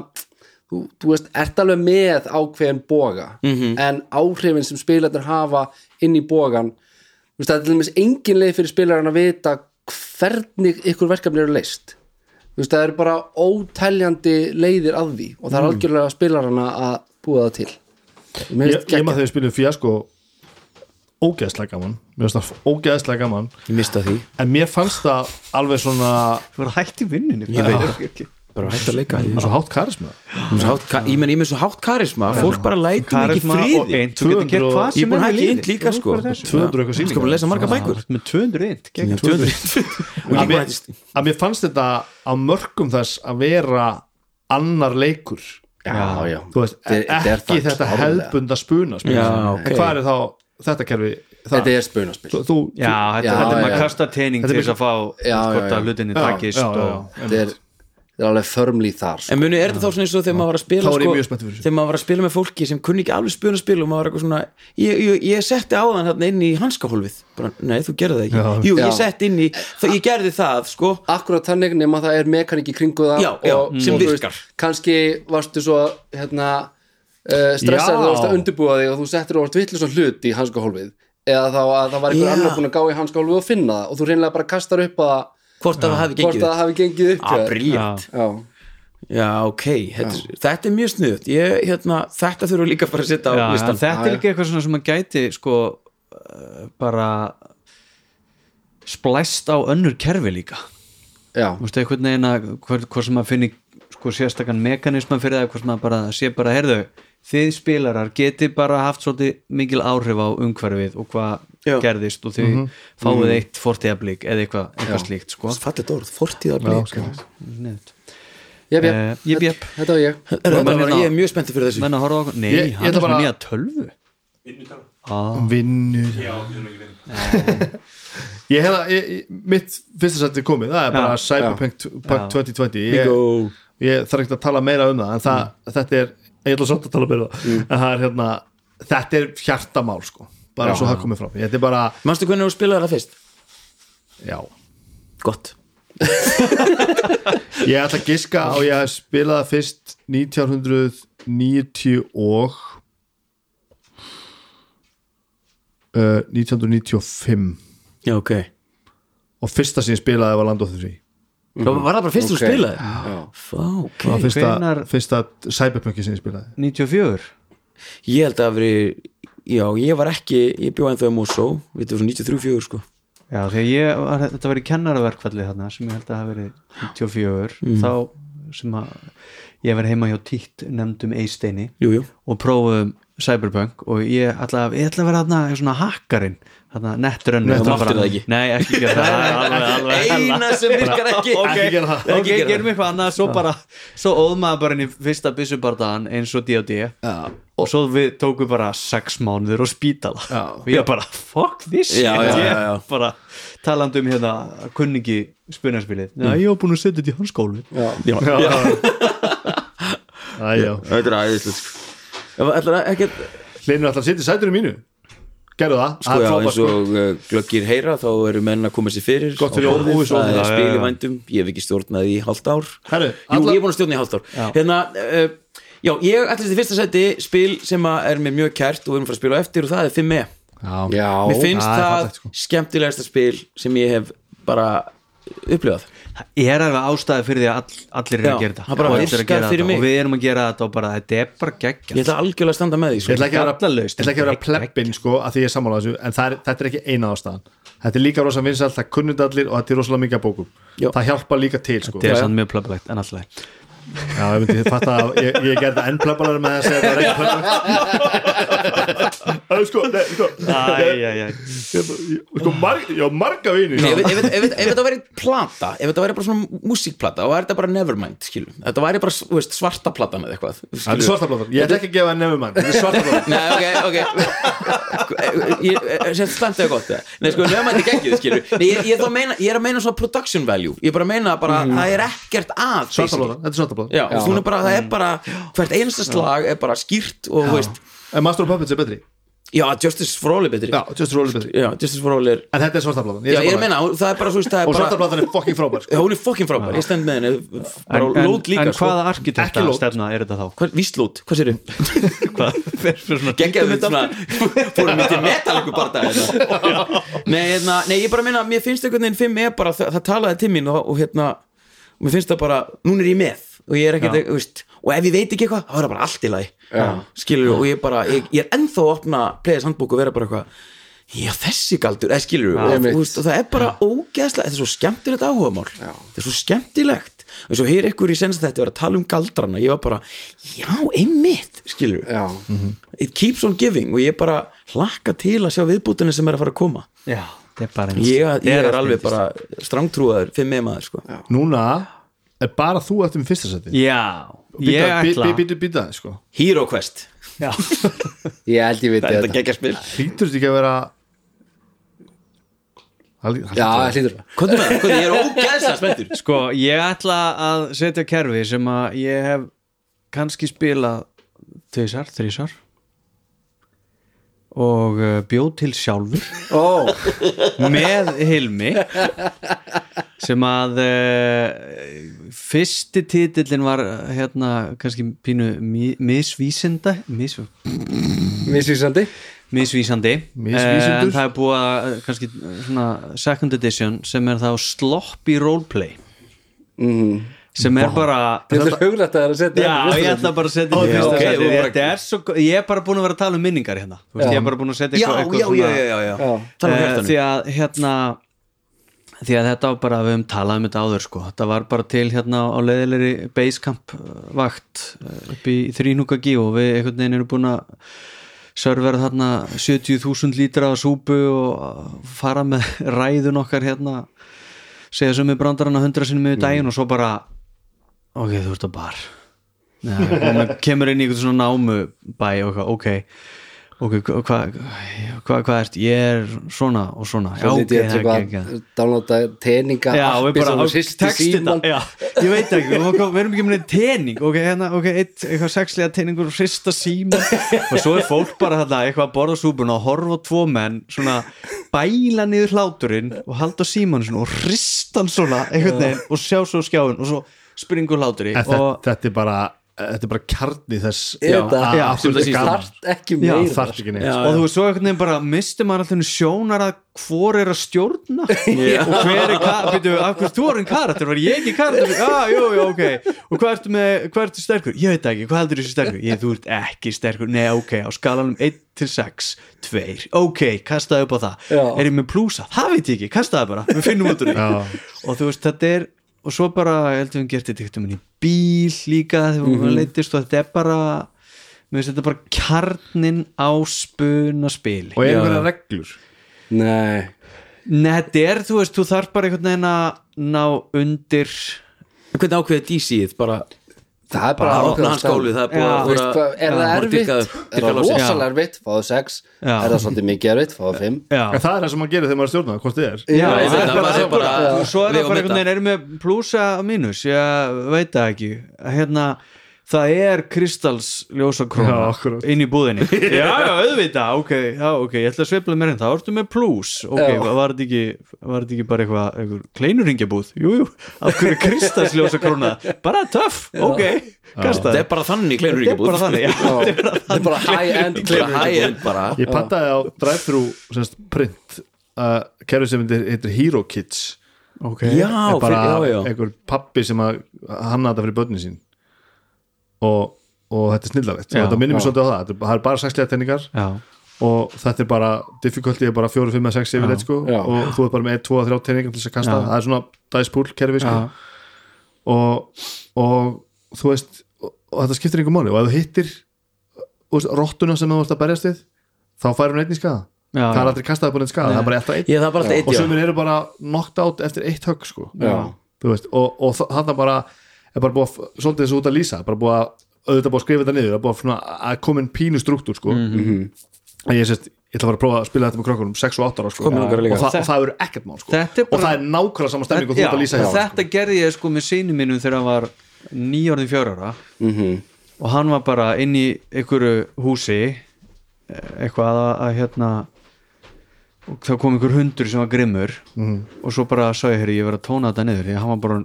Speaker 3: þú, þú veist, ert alveg með ákveðin boga -hmm. en áhrifin sem spilarnir hafa inn í bogan þú veist, það er til dæmis engin leið fyrir spilarinn að vita hvernig ykkur verkefni eru leist þú veist, það eru bara óteljandi leiðir að því og það er algjörlega spilarinn að búa það til Mér finnst
Speaker 2: ég, ég maður
Speaker 3: geggjað.
Speaker 2: þegar við spilum fíasko ógeðslega gaman mér finnst það ógeðslega gaman
Speaker 1: ég mista því,
Speaker 2: en mér fannst það alveg svona
Speaker 4: Þú verður hætt í vinnunni
Speaker 1: Ég veit.
Speaker 4: ekki
Speaker 1: bara hægt að leika ég
Speaker 2: svo hátt karisma
Speaker 1: Hún er svo hátt ka- ég menn ég með svo hátt karisma fólk bara lætur mig ekki í
Speaker 4: Karisma og
Speaker 1: friði
Speaker 4: eint Þú getur gert hvað
Speaker 1: ég
Speaker 2: 200
Speaker 1: er
Speaker 4: sem
Speaker 1: búin að
Speaker 4: er í
Speaker 1: hægt
Speaker 4: lífi.
Speaker 1: í eint líka
Speaker 4: Þú
Speaker 1: sko
Speaker 4: ert bara þessu.
Speaker 2: 200
Speaker 1: Ég
Speaker 2: eitthvað
Speaker 1: skal bara
Speaker 2: sýningar.
Speaker 1: lesa marga bækur
Speaker 4: Þú ert Með 200 eint gegn.
Speaker 1: Ég er 200. og ég
Speaker 2: að
Speaker 1: búin
Speaker 2: mér,
Speaker 1: að hægt
Speaker 2: að mér fannst þetta á mörgum þess að vera annar leikur
Speaker 3: Já, já,
Speaker 2: þú veist,
Speaker 3: Þetta er- þetta er
Speaker 2: ekki
Speaker 3: það
Speaker 2: þetta
Speaker 3: klárlega.
Speaker 2: hefðbunda spuna
Speaker 1: Já,
Speaker 2: en
Speaker 1: ok.
Speaker 2: hvað er þá þetta kerfi það,
Speaker 3: þetta er spunaspil
Speaker 2: þú, þú,
Speaker 4: Já, þetta
Speaker 3: Já,
Speaker 4: þetta er maður
Speaker 3: já.
Speaker 4: kasta teining
Speaker 2: Þetta er
Speaker 4: til þess að fá
Speaker 3: Já, já,
Speaker 4: hvort að
Speaker 3: já.
Speaker 4: hlutinni
Speaker 2: Já,
Speaker 4: takist
Speaker 2: já, já, já.
Speaker 4: og
Speaker 3: þetta er, þetta er alveg förmlíð þar sko.
Speaker 1: En muni, er þetta þá svona eins og þegar maður var að spila
Speaker 2: Þá er ég
Speaker 1: sko,
Speaker 2: mjög spenntur fyrir þessu.
Speaker 1: Þegar maður var að spila með fólki sem kunni ekki alveg spuna spil og maður var eitthvað svona Ég, ég, ég setti á þann hérna inn í hanskahólfið bara, Nei, þú gerði það ekki
Speaker 2: Já.
Speaker 1: Jú,
Speaker 3: Já.
Speaker 1: ég setti inn í, það, ég gerði það sko
Speaker 3: akkurat þannig nema það er mekanik í kringu það
Speaker 1: Já, já,
Speaker 3: og,
Speaker 1: sem
Speaker 3: og þú
Speaker 1: virkar.
Speaker 3: veist, kannski varstu svo hérna, uh,
Speaker 2: Já.
Speaker 3: stressaði þú varst að undirbúa þig og þú settir og varst vitlega hlut í hanskahólfið eða þá að það var einhver
Speaker 1: Já.
Speaker 3: annar búin að gá í hanskahólfið og finna það og þú reynilega bara kastar upp að
Speaker 1: Hvort að það hafi
Speaker 3: hvort
Speaker 1: gengið
Speaker 3: að það hafi gengið upp
Speaker 1: Á,
Speaker 3: hjá þér.
Speaker 1: briljant
Speaker 3: Já.
Speaker 1: Já, ok, þetta, þetta er mjög sniðut ég, hérna, Þetta þurfum við líka bara að setja á
Speaker 4: já, en
Speaker 1: listan
Speaker 4: þetta
Speaker 3: Já,
Speaker 4: er
Speaker 3: já.
Speaker 4: ekki eitthvað svona sem maður gæti sko uh, bara splæst á önnur kerfi líka
Speaker 3: Já.
Speaker 4: þú veist einhvern veginn að hvort, hvort sem maður finnir sko sérstakann mekanisman fyrir það hvort sem maður bara sé bara, heyrðu þið spilarar geti bara haft svolítið mikil áhrif á umhverfið og hvað
Speaker 1: Já.
Speaker 4: gerðist og þið fáið eitt fortíðablík eða eitthvað, eitthvað slíkt sko
Speaker 1: Fallet orð, fortíðar
Speaker 2: Já,
Speaker 1: blík
Speaker 2: skemmtilegt.
Speaker 4: Sniðugt.
Speaker 3: Jep, jep.
Speaker 4: Eh, jep, jep.
Speaker 3: Þetta- þetta var ég
Speaker 1: Þetta
Speaker 4: menn
Speaker 1: var
Speaker 4: hérna-
Speaker 1: ég er mjög spenntið fyrir þessu
Speaker 4: menn að horfa á okkur, nei,
Speaker 2: Ég- ég
Speaker 4: hann er
Speaker 2: ætla
Speaker 4: svona
Speaker 2: bara-
Speaker 4: nýja tölvu
Speaker 2: vinnu ég hef það ég- ég- mitt fyrsta sætti komið, það er bara
Speaker 4: Já,
Speaker 2: Cyberpunk t- Punk 2020 ég,
Speaker 1: Bingo.
Speaker 2: ég þarf ekki að tala meira um það en það,
Speaker 4: Mm.
Speaker 2: þetta er, ég ætla samt að tala meira um það en það er hérna, þetta er hjartamál sko, bara svo það komið fram þetta er bara,
Speaker 1: Manstu hvernig þú spilaði það fyrst?
Speaker 2: já
Speaker 1: Gott
Speaker 2: ég ætla að giska á ég að spila það fyrst 1990 og uh, 1995
Speaker 1: Já, ok
Speaker 2: og fyrsta sem ég spilaði var Land of the Free
Speaker 1: Þá Var það bara fyrst
Speaker 3: Ok.
Speaker 1: þú spilaði?
Speaker 3: Já.
Speaker 1: Fá, ok
Speaker 2: Það var fyrsta,
Speaker 4: hvenær-
Speaker 2: fyrsta cyberpunki sem ég spilaði
Speaker 4: 94
Speaker 1: Ég held að veri Já, ég var ekki, ég bjóði ennþá um og svo Við þetta var svona 93-4 sko
Speaker 4: Já, þegar ég var, þetta var í kennaraverkfallið þarna sem ég held að hafa verið 94 þá sem að ég var heima hjá títt nefndum Eisteini
Speaker 1: Jú, jú,
Speaker 4: og prófuðum Cyberpunk og ég ætla að, ég ætla að vera þarna eitthvað svona hakkarinn, þarna nettrönnu
Speaker 1: Þú máttir það ekki.
Speaker 4: Nei, ekki gera það alveg, alveg, alveg.
Speaker 1: Eina sem virkar ekki
Speaker 2: Ok. Ekki gera það.
Speaker 4: Ekki,
Speaker 1: Ekki gera
Speaker 4: gerum eitthvað annað, svo bara svo óð maður bara inn í fyrsta byssubardaðan eins og D&D og svo við tókum bara sex mánuður og spítala
Speaker 2: Já.
Speaker 4: og ég bara, fuck this shit
Speaker 1: Já, já, já, já.
Speaker 4: ég bara talandi um hérna kunningi
Speaker 1: Mm.
Speaker 4: spunarspilið Já, ég var búin að setja þetta í hans skólu
Speaker 3: Já.
Speaker 1: Já, já,
Speaker 2: Æjá,
Speaker 1: þetta er aðeinslega sko Það var ætlar að ekkert
Speaker 2: Hlinur alltaf sitt í sætunum mínu Gerðu það,
Speaker 1: Sko
Speaker 2: það
Speaker 1: já,
Speaker 2: er frábært
Speaker 1: eins
Speaker 2: sko
Speaker 1: og uh, glöggir heyra þá eru menn að koma sér fyrir
Speaker 2: Gott fyrir
Speaker 1: Á
Speaker 2: orð-
Speaker 1: borðið,
Speaker 2: óvissu orð.
Speaker 1: Það er
Speaker 4: Já,
Speaker 1: spil
Speaker 4: já,
Speaker 1: í
Speaker 4: já.
Speaker 1: vændum, ég hef ekki stjórnað í hálft ár
Speaker 2: Herru,
Speaker 1: Jú,
Speaker 2: alla-
Speaker 1: ég er búin að stjórna í hálft ár Hérna, uh, já, ég ætlist í fyrsta seti spil sem að er mér mjög kært og við erum frá að spila á eftir og það er 5e
Speaker 2: Já,
Speaker 3: Já.
Speaker 1: Mér finnst
Speaker 2: það er
Speaker 1: það
Speaker 2: fallegt, sko.
Speaker 1: skemmtilegasta spil sem ég hef bara upplifað
Speaker 4: Það er alveg ástæði fyrir því að all, allir eru
Speaker 1: Já,
Speaker 4: að gera þetta
Speaker 1: það bara
Speaker 4: og allir eru að
Speaker 1: virkar
Speaker 4: gera
Speaker 1: fyrir
Speaker 4: þetta
Speaker 1: mig.
Speaker 4: og við erum að gera þetta og bara, þetta er bara geggja
Speaker 1: Ég ætla algjörlega að standa með því
Speaker 2: Ég
Speaker 1: sko.
Speaker 2: ætla ekki að vera,
Speaker 4: Gallalaust.
Speaker 2: ég ætla ekki að vera plebbin sko að því ég er sammála þessu en það er, þetta er ekki eina ástæðan Þetta er líka rosa vinsælt, það kunnund allir og þetta er rosalega mikið að bókum
Speaker 1: Já.
Speaker 2: Það hjálpa líka til sko
Speaker 4: þetta
Speaker 2: Já,
Speaker 4: er sann mjög plöpulegt en alltaf
Speaker 2: ég myndi fatta að ég, ég gerði það enn plöbbalara með að segja það er ekki plöbbalara Æ, sko, nei, sko,
Speaker 4: Æ, æ, æ.
Speaker 2: Ég- ég- sko marg, ég á marga sko. vini
Speaker 1: Nei, ef, ef, ef, ef, ef þetta væri plata ef þetta væri bara svona músíkplata og er þetta bara Nevermind skilum þetta væri bara þú veist, svarta plata með eitthvað
Speaker 2: Þetta er
Speaker 1: skilurðu.
Speaker 2: svarta blóðar, ég ætla ekki að gefa henni nefnum mann Þetta er svarta blóðar
Speaker 1: Nei, ok, ok Ég- ég- sem standið er gott eða? Nei, sko, nefnum þetta geggið, skilju Nei, ég, ég, er þá að meina, ég er að meina svona production value Ég er bara að meina að bara, það er ekkert að
Speaker 2: Svarta
Speaker 1: basically.
Speaker 2: blóðar, þetta er svarta blóðar
Speaker 1: Já, þú er bara, það er bara Hvert einasta slag er bara skýrt og, þú veist,
Speaker 2: En Master of Puppets er betri
Speaker 1: já, Justice for All er betri
Speaker 2: Já, Just Roll er betri
Speaker 1: Já, Justice for All er
Speaker 2: En þetta er svarta blóðar
Speaker 1: Já, ég er að meina, það er bara, þú veist, það
Speaker 2: Og
Speaker 1: er
Speaker 2: svarta
Speaker 1: bara
Speaker 2: blóðar er fucking frábær sko.
Speaker 1: Já, Hún er fokkin frábær, ég stend með henni Bara
Speaker 4: En, en,
Speaker 1: lót líka,
Speaker 4: en
Speaker 1: sko
Speaker 4: hvaða
Speaker 2: Ekki
Speaker 4: arkitekta
Speaker 2: lót.
Speaker 4: stefna er þetta þá?
Speaker 1: Hvað, víslót, hvað sér þau?
Speaker 4: Hvað fer fyrir svona
Speaker 1: Gekkjaðu
Speaker 4: tvítumitt
Speaker 1: þetta svona Fórum við til metalíku barða nei, hérna, nei, ég bara meina Mér finnst einhvern veginn fimm er bara Það, það talaði til mín og, og hérna og Mér finnst það bara, núna er ég með Og ég er ekkert, þú veist Og ef ég veit ekki eitthvað, þá er það bara allt í lagi Skilur, og ég bara, ég, ég er ennþá að opna Players handbók og vera bara eitthvað Já, þessi galdur, eða skilur og, og,
Speaker 3: einmitt.
Speaker 1: þú veist, og það er bara ógeðslega Þetta er svo skemmtilegt áhugamál Þetta er svo skemmtilegt Og svo heyr ykkur í senst að þetta vera að tala um galdrana Ég var bara, já, einmitt Skilur
Speaker 3: já,
Speaker 1: it keeps on giving og ég bara hlakka til að sjá viðbútinu sem er að fara að koma
Speaker 4: Já, þetta er bara eins
Speaker 1: ég, ég
Speaker 4: Þetta
Speaker 1: er
Speaker 4: allt
Speaker 1: alveg
Speaker 4: eins.
Speaker 1: bara strangtrúaður fyrir mig maður sko já,
Speaker 2: Núna er bara þú eftir með fyrsta seti
Speaker 4: Já, ég ætla
Speaker 2: Býta, býta, sko
Speaker 1: Hero Quest,
Speaker 4: Já.
Speaker 3: ég held ég veit
Speaker 1: þetta
Speaker 3: þetta
Speaker 1: geggja spil
Speaker 2: Hlýtur þetta ekki að vera Það lí- það
Speaker 3: já,
Speaker 2: hlýtur að-
Speaker 3: hlýtur það
Speaker 1: hvað er það, ég er ógæðslega spenntur
Speaker 4: Sko, ég ætla að setja kerfi sem að ég hef kannski spilað tvisar, þrísar og uh, bjóð til sjálfur
Speaker 3: ó,
Speaker 4: með Hilmi sem að uh, fyrsti titillin var eh, hérna kannski pínu mi- misvísinda mis,
Speaker 3: misvísandi
Speaker 4: misvísandi
Speaker 2: Misvísendur.
Speaker 4: Eh, en það er búið að eh, kannski eh, svona second edition sem er þá sloppy roleplay
Speaker 3: mm.
Speaker 4: sem er bara
Speaker 3: þetta er hugrætt að það er að setja
Speaker 4: Já,
Speaker 3: þetta í
Speaker 4: ég
Speaker 3: fyrsta
Speaker 4: ætla bara að setja
Speaker 1: Ó,
Speaker 4: þetta í
Speaker 1: já,
Speaker 4: fyrsta
Speaker 1: ok,
Speaker 4: sæti.
Speaker 1: þú bara-
Speaker 4: Þetta er svo gó- Ég er bara búin að vera að tala um minningar hérna Þú veist, Ég er bara búin að setja
Speaker 1: já,
Speaker 4: eitthvað eitthvað
Speaker 1: já, já, já, já, já.
Speaker 3: Já.
Speaker 1: tala um
Speaker 4: Eh, Því
Speaker 1: hjartanu
Speaker 4: að hérna Því að þetta var bara, við höfum talað um þetta áður sko Þetta var bara til hérna á leiðilegri Basecamp eh, vakt eh, upp í þrínúka gí og við einhvern veginn erum búin að servera þarna 70.000 lítra af súpu og fara með ræðun okkar hérna segja sem við brandarana 100 sinni miður daginn og svo bara ok, þú ert að bar Nei, og maður kemur inn í einhvern svona námu bæ og eitthvað, ok ok, hvað hva, hva, hva ert ég er svona og svona já,
Speaker 3: Svo
Speaker 4: ok,
Speaker 3: lítið ég
Speaker 4: það er
Speaker 3: til
Speaker 4: ekki
Speaker 3: að downloada teninga
Speaker 4: já, við
Speaker 3: appi
Speaker 4: bara, ok,
Speaker 3: sem þú sýst í
Speaker 4: texti
Speaker 3: síman
Speaker 4: þetta já, ég veit ekki, við kom- við erum ekki með tening ok, hérna, ok, eitt, eitthvað sexlega teningur hrista síma og svo er fólk bara þarna, eitthvað að borða súpuna og horfa á tvo menn, svona bæla niður hláturinn og halda síman svona, og hrista hann svona, einhvern veginn og sjá svo skjáin og svo springur hlátur í
Speaker 2: En þetta,
Speaker 4: og
Speaker 2: þetta er bara Þetta er bara kjarni þess
Speaker 3: Er þetta-
Speaker 2: að-
Speaker 4: Já,
Speaker 2: af
Speaker 1: sem
Speaker 2: hverju þetta
Speaker 1: þetta
Speaker 2: er gaman.
Speaker 3: þarft ekki
Speaker 4: Já,
Speaker 3: meira
Speaker 2: Þarft ekki neitt sko.
Speaker 1: Já,
Speaker 4: og þú veist svo einhvern veginn bara misti maður alltaf sjónar að hvor er að stjórna og hver er karakter af hverju þú er en karakter, var ég ekki karakter já, ah, jú, jú, ok, og hvað ertu með hvað ertu sterkur, ég veit það ekki, hvað heldur þessi sterkur ég, þú ert ekki sterkur, nei, ok, á skalanum 1 til 6, 2 ok, kastaði upp á það,
Speaker 3: Já.
Speaker 4: er ég með plúsa það veit ég ekki, kastaði bara, við finnum út úr því
Speaker 2: Já.
Speaker 4: og þú veist, þetta er og svo bara, ég heldur við höfum gert þetta eitthvað í bíl líka þegar mm
Speaker 2: Mhm.
Speaker 4: -hmm. leittist og þetta er bara mér finnst þetta bara kjarnin á spunaspili
Speaker 2: Og er einhverja reglur
Speaker 3: nei,
Speaker 4: Nei, þetta er, þú veist, þú þarf bara einhvern veginn að ná undir
Speaker 1: hvernig ákveðið DC-ið bara
Speaker 3: það er bara
Speaker 1: að
Speaker 3: ákveðið
Speaker 1: opna hans skólið það er búið
Speaker 4: Já.
Speaker 1: að
Speaker 3: Þú veist,
Speaker 1: vera
Speaker 3: hvað- er það erfitt, er það rosalega erfitt fáðu 6,
Speaker 4: Já.
Speaker 3: er það svolítið mikið erfitt fáðu 5
Speaker 4: Já,
Speaker 2: En það er það sem maður gerir þegar maður stjórnar Hvort þið er
Speaker 4: Já,
Speaker 1: ég
Speaker 4: það
Speaker 1: veit
Speaker 4: er
Speaker 1: það, maður
Speaker 4: bara,
Speaker 1: er bara-
Speaker 4: bara svo er það bara
Speaker 1: vega meta.
Speaker 4: einhvern veginn erum við plúsa og mínus, ég veit það ekki hérna, það er kristals
Speaker 2: Já,
Speaker 4: ljósakróna
Speaker 2: akkurat.
Speaker 4: inn í búðinni já, já, auðvitað, ok, já, ok ég ætla að sveifla mér hérna, þá ertu með plús ok,
Speaker 3: Já.
Speaker 4: var þetta ekki, var þetta ekki bara eitthvað einhver kleinurringjabúð, jú, jú af hverju kristals ljósakróna, bara töff ok,
Speaker 1: þetta
Speaker 4: kastaði
Speaker 1: er bara þannig kleinur
Speaker 4: þetta er bara þannig, já, þetta er bara
Speaker 3: það er bara high end
Speaker 1: kleinur hæ er bara
Speaker 2: Ég pantaði á drive-thru semst, print uh, Kerfi sem heitir- heitir Hero Kids
Speaker 4: ok,
Speaker 1: já,
Speaker 2: er bara
Speaker 1: fyrir- já, já.
Speaker 2: einhver pappi sem að hanna þetta fyrir börnin sín og, og þetta er snillalegt
Speaker 4: Já,
Speaker 2: og þetta minnir mér
Speaker 4: já.
Speaker 2: svolítið á það Þetta er- það er bara sexlega tenningar
Speaker 4: já,
Speaker 2: og þetta er bara, difficulty er bara 4, 5, 6 yfirleitt sko
Speaker 3: Já.
Speaker 2: og þú er bara með 1, 2, 3 tenningar til þess að kasta
Speaker 4: Já.
Speaker 2: það er svona dice pool kerfi sko
Speaker 4: Já.
Speaker 2: og, og þú veist og, og þetta skiptir einhver máli og ef þú hittir þú veist, rottuna sem þú vorst að berjast við þá færum við einnig skaða
Speaker 4: Já, já.
Speaker 2: það er aldrei kastaði búin einn skaða, það er bara eftir einn
Speaker 1: Ég það er bara
Speaker 2: og
Speaker 1: alltaf eitt,
Speaker 2: sömur eru bara knocked out eftir eitt högg sko.
Speaker 3: Já.
Speaker 2: Þú veist, og, og þannig bara er bara búið að, svolítið þessu út að lýsa bara búið að, auðvitað búið að skrifa þetta niður það er búið að, svona, að koma inn pínu struktúr sko.
Speaker 4: Mhm.
Speaker 2: en ég sést, ég ætla bara að prófa að spila þetta með krökkunum 6 og 8 ára sko.
Speaker 1: Komið langar líka.
Speaker 2: og, það,
Speaker 4: Þetta-
Speaker 2: og það eru ekkert mál sko.
Speaker 4: Þetta er
Speaker 2: og
Speaker 4: bara-
Speaker 2: það er nákvæmlega saman stemning og þú ert að lýsa hjá
Speaker 4: já, þetta gerði ég sko með sínu mínum þegar hann var nýjörðin fjörara mm
Speaker 2: Mhm.
Speaker 4: og hann var bara inn í einhverju húsi eh, eitthvað að, að hérna og þá kom einhver hundur sem var grimmur og svo bara sagði hér ég verið að tóna þetta niður því að hann var bara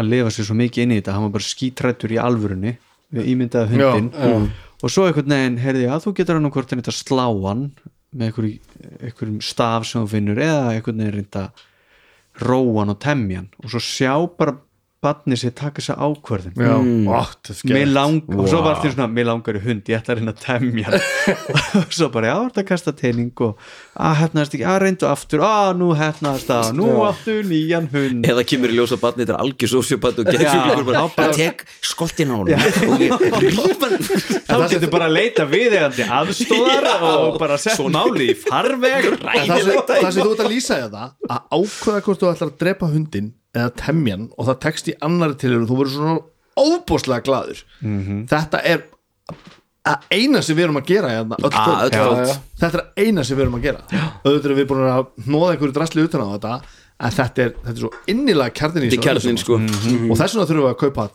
Speaker 4: að lifa sér svo mikið inn í þetta hann var bara skítrættur í alvörunni við ímyndaði hundin
Speaker 2: Já, já.
Speaker 4: og svo einhvern veginn heyrði ég að þú getur hann og hvort þetta sláan með einhverjum, einhverjum staf sem þú finnur eða einhvern veginn reynda róan og temjan og svo sjá bara batni sér taka þessa ákvörðin
Speaker 2: já, Ó, þetta
Speaker 4: Mér
Speaker 2: er skemmt.
Speaker 4: lang, og svo var allir svona, mér langar í hund ég ætla að reyna að temja hann." og svo bara, já, þetta kasta teining og að hefnaðast ekki, að reyndu aftur að nú hefnaðast að, nú aftur nýjan hund
Speaker 1: eða kemur í ljósa batni þetta er algjör sósjóbatni og
Speaker 4: Já,
Speaker 1: getur bara,
Speaker 4: þá bara-
Speaker 1: tek skoltin á hún og ég rýpan
Speaker 4: þá getur bara að leita viðegandi aðstóðar og bara sett máli í farveg
Speaker 2: En það sem, það sem þú ert að lýsa er það að ákveða hvort þú ætlar að drepa hundin eða temjan og það tekst í annari tilhöru þú verður svona óbúslega gladur þetta er að eina sem við erum að gera hérna, öll
Speaker 1: Ah,
Speaker 2: kvöld.
Speaker 1: öll kvöld.
Speaker 2: Já, já. þetta er eina sem við erum að gera auðvitað erum við búin að nóða einhverju drasli utan á þetta en þetta er, þetta er svo innilega kjarnin í
Speaker 1: þetta er kjarnin sko
Speaker 2: og þess vegna þurfum við að kaupa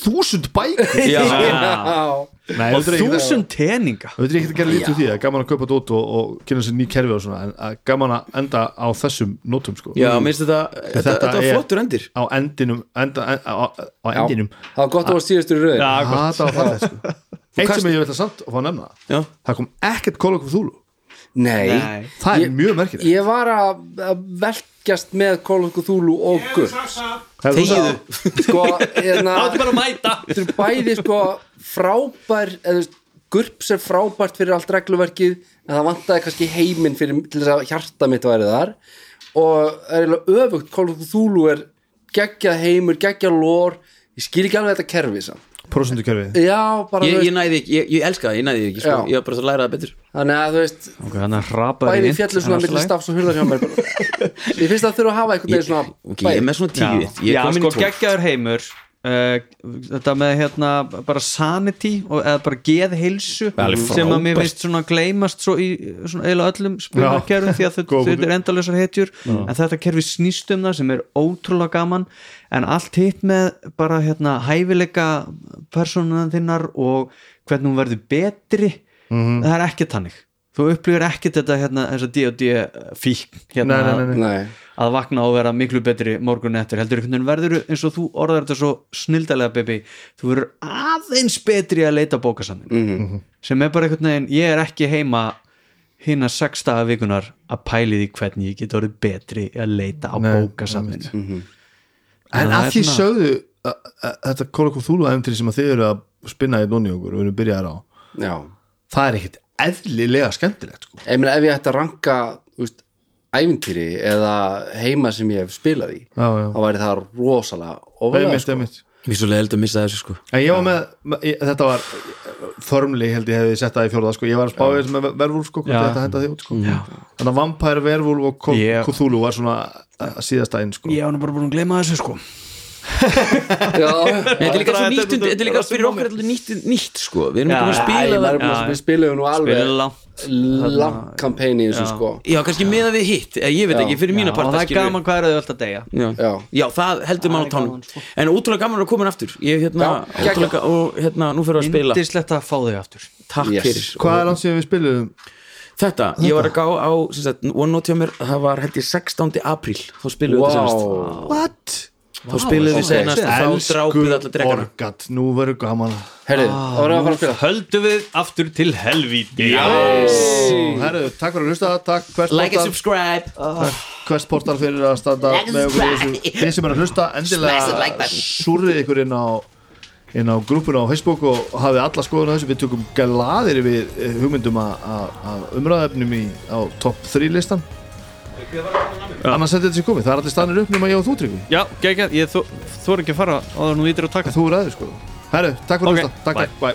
Speaker 2: þúsund bækur
Speaker 1: Já.
Speaker 3: Já.
Speaker 2: Nei, auðvitað er ekki-
Speaker 4: þúsund teininga
Speaker 2: Við veitum ekki að gera lítið úr því, það er gaman að kaupa þetta út og, og kynna sér ný kerfi og svona en að gaman að enda á þessum nótum sko.
Speaker 1: já, minnst þetta, þetta, þetta var
Speaker 2: er-
Speaker 1: flottur endir
Speaker 2: á endinum enda, en, á, á
Speaker 3: Já.
Speaker 2: endinum
Speaker 3: Það var gott að það var síðustur í rauðin
Speaker 4: Já,
Speaker 2: það var fallið sko. eitt
Speaker 1: kast-
Speaker 2: sem ég vil að samt og fá að nefna
Speaker 1: Já.
Speaker 2: það kom ekkert kóla okkur þúlu
Speaker 3: Nei,
Speaker 4: Nei.
Speaker 2: það er
Speaker 3: Ég-
Speaker 2: mjög merkilegt
Speaker 3: Ég var að að velkjast með Kóluku Þúlu og Gull
Speaker 2: Hefur þú
Speaker 1: Þegiðu.
Speaker 2: sagt-
Speaker 3: Sko, hérna
Speaker 1: bara að mæta
Speaker 3: Þetta er bæði sko frábær eða þú veist, GURPS er frábært fyrir allt regluverkið en það vantaði kannski heiminn fyrir, til þess að hjarta mitt væri þar og það er eiginlega öfugt Kóluku Þúlu er geggja heimur, geggja lór ég skil ekki alveg þetta kerfi samt
Speaker 2: prósendukerfi
Speaker 3: Já, bara
Speaker 1: ég,
Speaker 3: þú
Speaker 1: ég næði ekki, ég, ég elska það, ég næði ekki sko.
Speaker 3: Já.
Speaker 1: ég var bara að læra það betur
Speaker 3: þannig að þú veist
Speaker 4: ok, hann er hrapaður í
Speaker 3: bæði
Speaker 4: vind,
Speaker 3: fjallur
Speaker 4: en
Speaker 3: svona
Speaker 4: allt í
Speaker 3: millir
Speaker 4: lagi.
Speaker 3: stafs og hurðar hjá mér bara. Ég finnst að þurfa að hafa einhvern veginn
Speaker 1: ég,
Speaker 3: svona
Speaker 1: ok, ég er með svona tíu ég, ég
Speaker 4: já,
Speaker 1: kom inn
Speaker 4: sko
Speaker 1: í tólf
Speaker 4: geggjaður heimur uh, þetta með hérna bara sanity og, eða bara geðheilsu
Speaker 1: alveg
Speaker 4: sem að mér
Speaker 1: frábært.
Speaker 4: veist svona gleymast svo í svona eiginlega öllum spilnakerfum því að þau-
Speaker 2: góð
Speaker 4: þetta er endalausar hetjur en þetta kerfi snýst um það sem er ótrúlega gaman en allt hitt með bara hérna hæfileika personan þinnar og hvernig hún verður betri
Speaker 2: Mhm.
Speaker 4: það er ekkert hannig þú upplýður ekkert þetta hérna þess að D&D fík hérna
Speaker 2: Nei, nei, nei, nei.
Speaker 3: Nei,
Speaker 4: að vakna og vera miklu betri morgun eftir heldur einhvern veginn verður eins og þú orðar þetta svo snildalega baby þú verður aðeins betri að leita bókasamning
Speaker 3: mhm,
Speaker 4: -hmm. sem er bara einhvern veginn ég er ekki heima hinn að sex daga vikunar að pæli því hvernig ég get orðið betri að leita á hérna-
Speaker 2: Nei,
Speaker 4: bókasamning
Speaker 2: en
Speaker 4: Já,
Speaker 2: að
Speaker 4: það er
Speaker 2: því
Speaker 4: svona-
Speaker 2: sögðu að- að- þetta kóla okkur þúlu efntri sem að þið eru að spinna í dóni okkur og við erum byrjaðar á
Speaker 3: já
Speaker 2: það er ekkert eðlilega skemmtilegt sko.
Speaker 3: Ég meina ef ég ætti að ranka þú veist, ævintýri eða heima sem ég hef spilað í
Speaker 2: já, já.
Speaker 3: þá væri það rosalega ofalega
Speaker 2: Einmitt,
Speaker 3: sko.
Speaker 2: einmitt.
Speaker 1: Mér er svo leiðilegt að missa þessu sko
Speaker 2: En ég var með, með ég, þetta var förmli held ég hefði sett það í fjórða sko, ég var að spá þessum með vervúl sko, hvort
Speaker 4: Já.
Speaker 2: þetta henda þig út sko þannig að vampær, vervúl og Ko-
Speaker 4: Ég-
Speaker 2: Cthulhu var svona að síðasta einn sko
Speaker 4: ég var nú bara búin að gleyma þessu sko
Speaker 3: Já,
Speaker 1: Nei, þetta er
Speaker 4: bara-
Speaker 1: líka svo
Speaker 4: þetta er-
Speaker 1: nýtt, undir- þetta er líka fyrir okkur alltaf nýtt, nýtt sko, við erum ekki búin að
Speaker 3: Æ,
Speaker 1: spila
Speaker 3: maður er búin
Speaker 1: það
Speaker 4: Já,
Speaker 3: að
Speaker 4: já.
Speaker 3: Við spilum nú alveg
Speaker 4: Spila langt. Hérna.
Speaker 3: langt kampæni eins og sko
Speaker 1: Já, kannski miða við hitt, eða ég veit
Speaker 3: Já.
Speaker 1: ekki, fyrir mína
Speaker 4: Já, og
Speaker 1: parta
Speaker 4: það er
Speaker 1: skilur við.
Speaker 4: gaman hvað er auðvitað að deyja
Speaker 1: Já.
Speaker 3: Já.
Speaker 1: Já, það heldur mann á
Speaker 4: er
Speaker 1: tánum
Speaker 4: gaman, sko.
Speaker 1: En ótrúlega gaman að koma inn aftur Ég hérna,
Speaker 3: Já, geggjað.
Speaker 1: ótrúlega, og hérna, nú fyrir að spila
Speaker 4: indislegt að fá þau aftur
Speaker 1: Takk
Speaker 3: Yes.
Speaker 1: fyrir
Speaker 2: Hvað er hann sem við spilum?
Speaker 1: Þetta, ég var að gá á, sem sagt, one note hjá mér Það var held ég 16. apríl Þá spilum við þetta senast
Speaker 3: Wow
Speaker 2: What?
Speaker 1: Þá spilum
Speaker 3: ok.
Speaker 1: við senast, þá drápum við alla
Speaker 2: Elsku
Speaker 1: dregana
Speaker 2: orgat, nú verður gaman
Speaker 3: Herðu,
Speaker 1: Ah.
Speaker 3: þá erum við að fara að spila
Speaker 4: höldu við aftur til helvíti
Speaker 2: Herru, takk fyrir að hlusta, takk Quest
Speaker 1: Like and
Speaker 2: Portal,
Speaker 1: subscribe
Speaker 2: Quest Portal fyrir að standa
Speaker 5: Like and
Speaker 2: með okkur í þessu
Speaker 5: subscribe.
Speaker 2: Þið sem er að hlusta,
Speaker 5: Smash the like
Speaker 2: endilega
Speaker 5: button.
Speaker 2: súrið ykkur inn á inn á grúpuna á Facebook og hafið alla skoðun á þessu, við tökum galaðir við eh, hugmyndum að- að að umræðefnum í, á top 3 listan annars er þetta sem komið, það er allir stannir upp nema ég og þú tryggur,
Speaker 4: já, geggjað, ég þú, þú er ekki að fara á það nú vitir að taka
Speaker 2: þú ræður sko Herru, takk fyrir að
Speaker 4: Ok,
Speaker 2: hlusta, takk,
Speaker 4: bye.
Speaker 2: takk, bye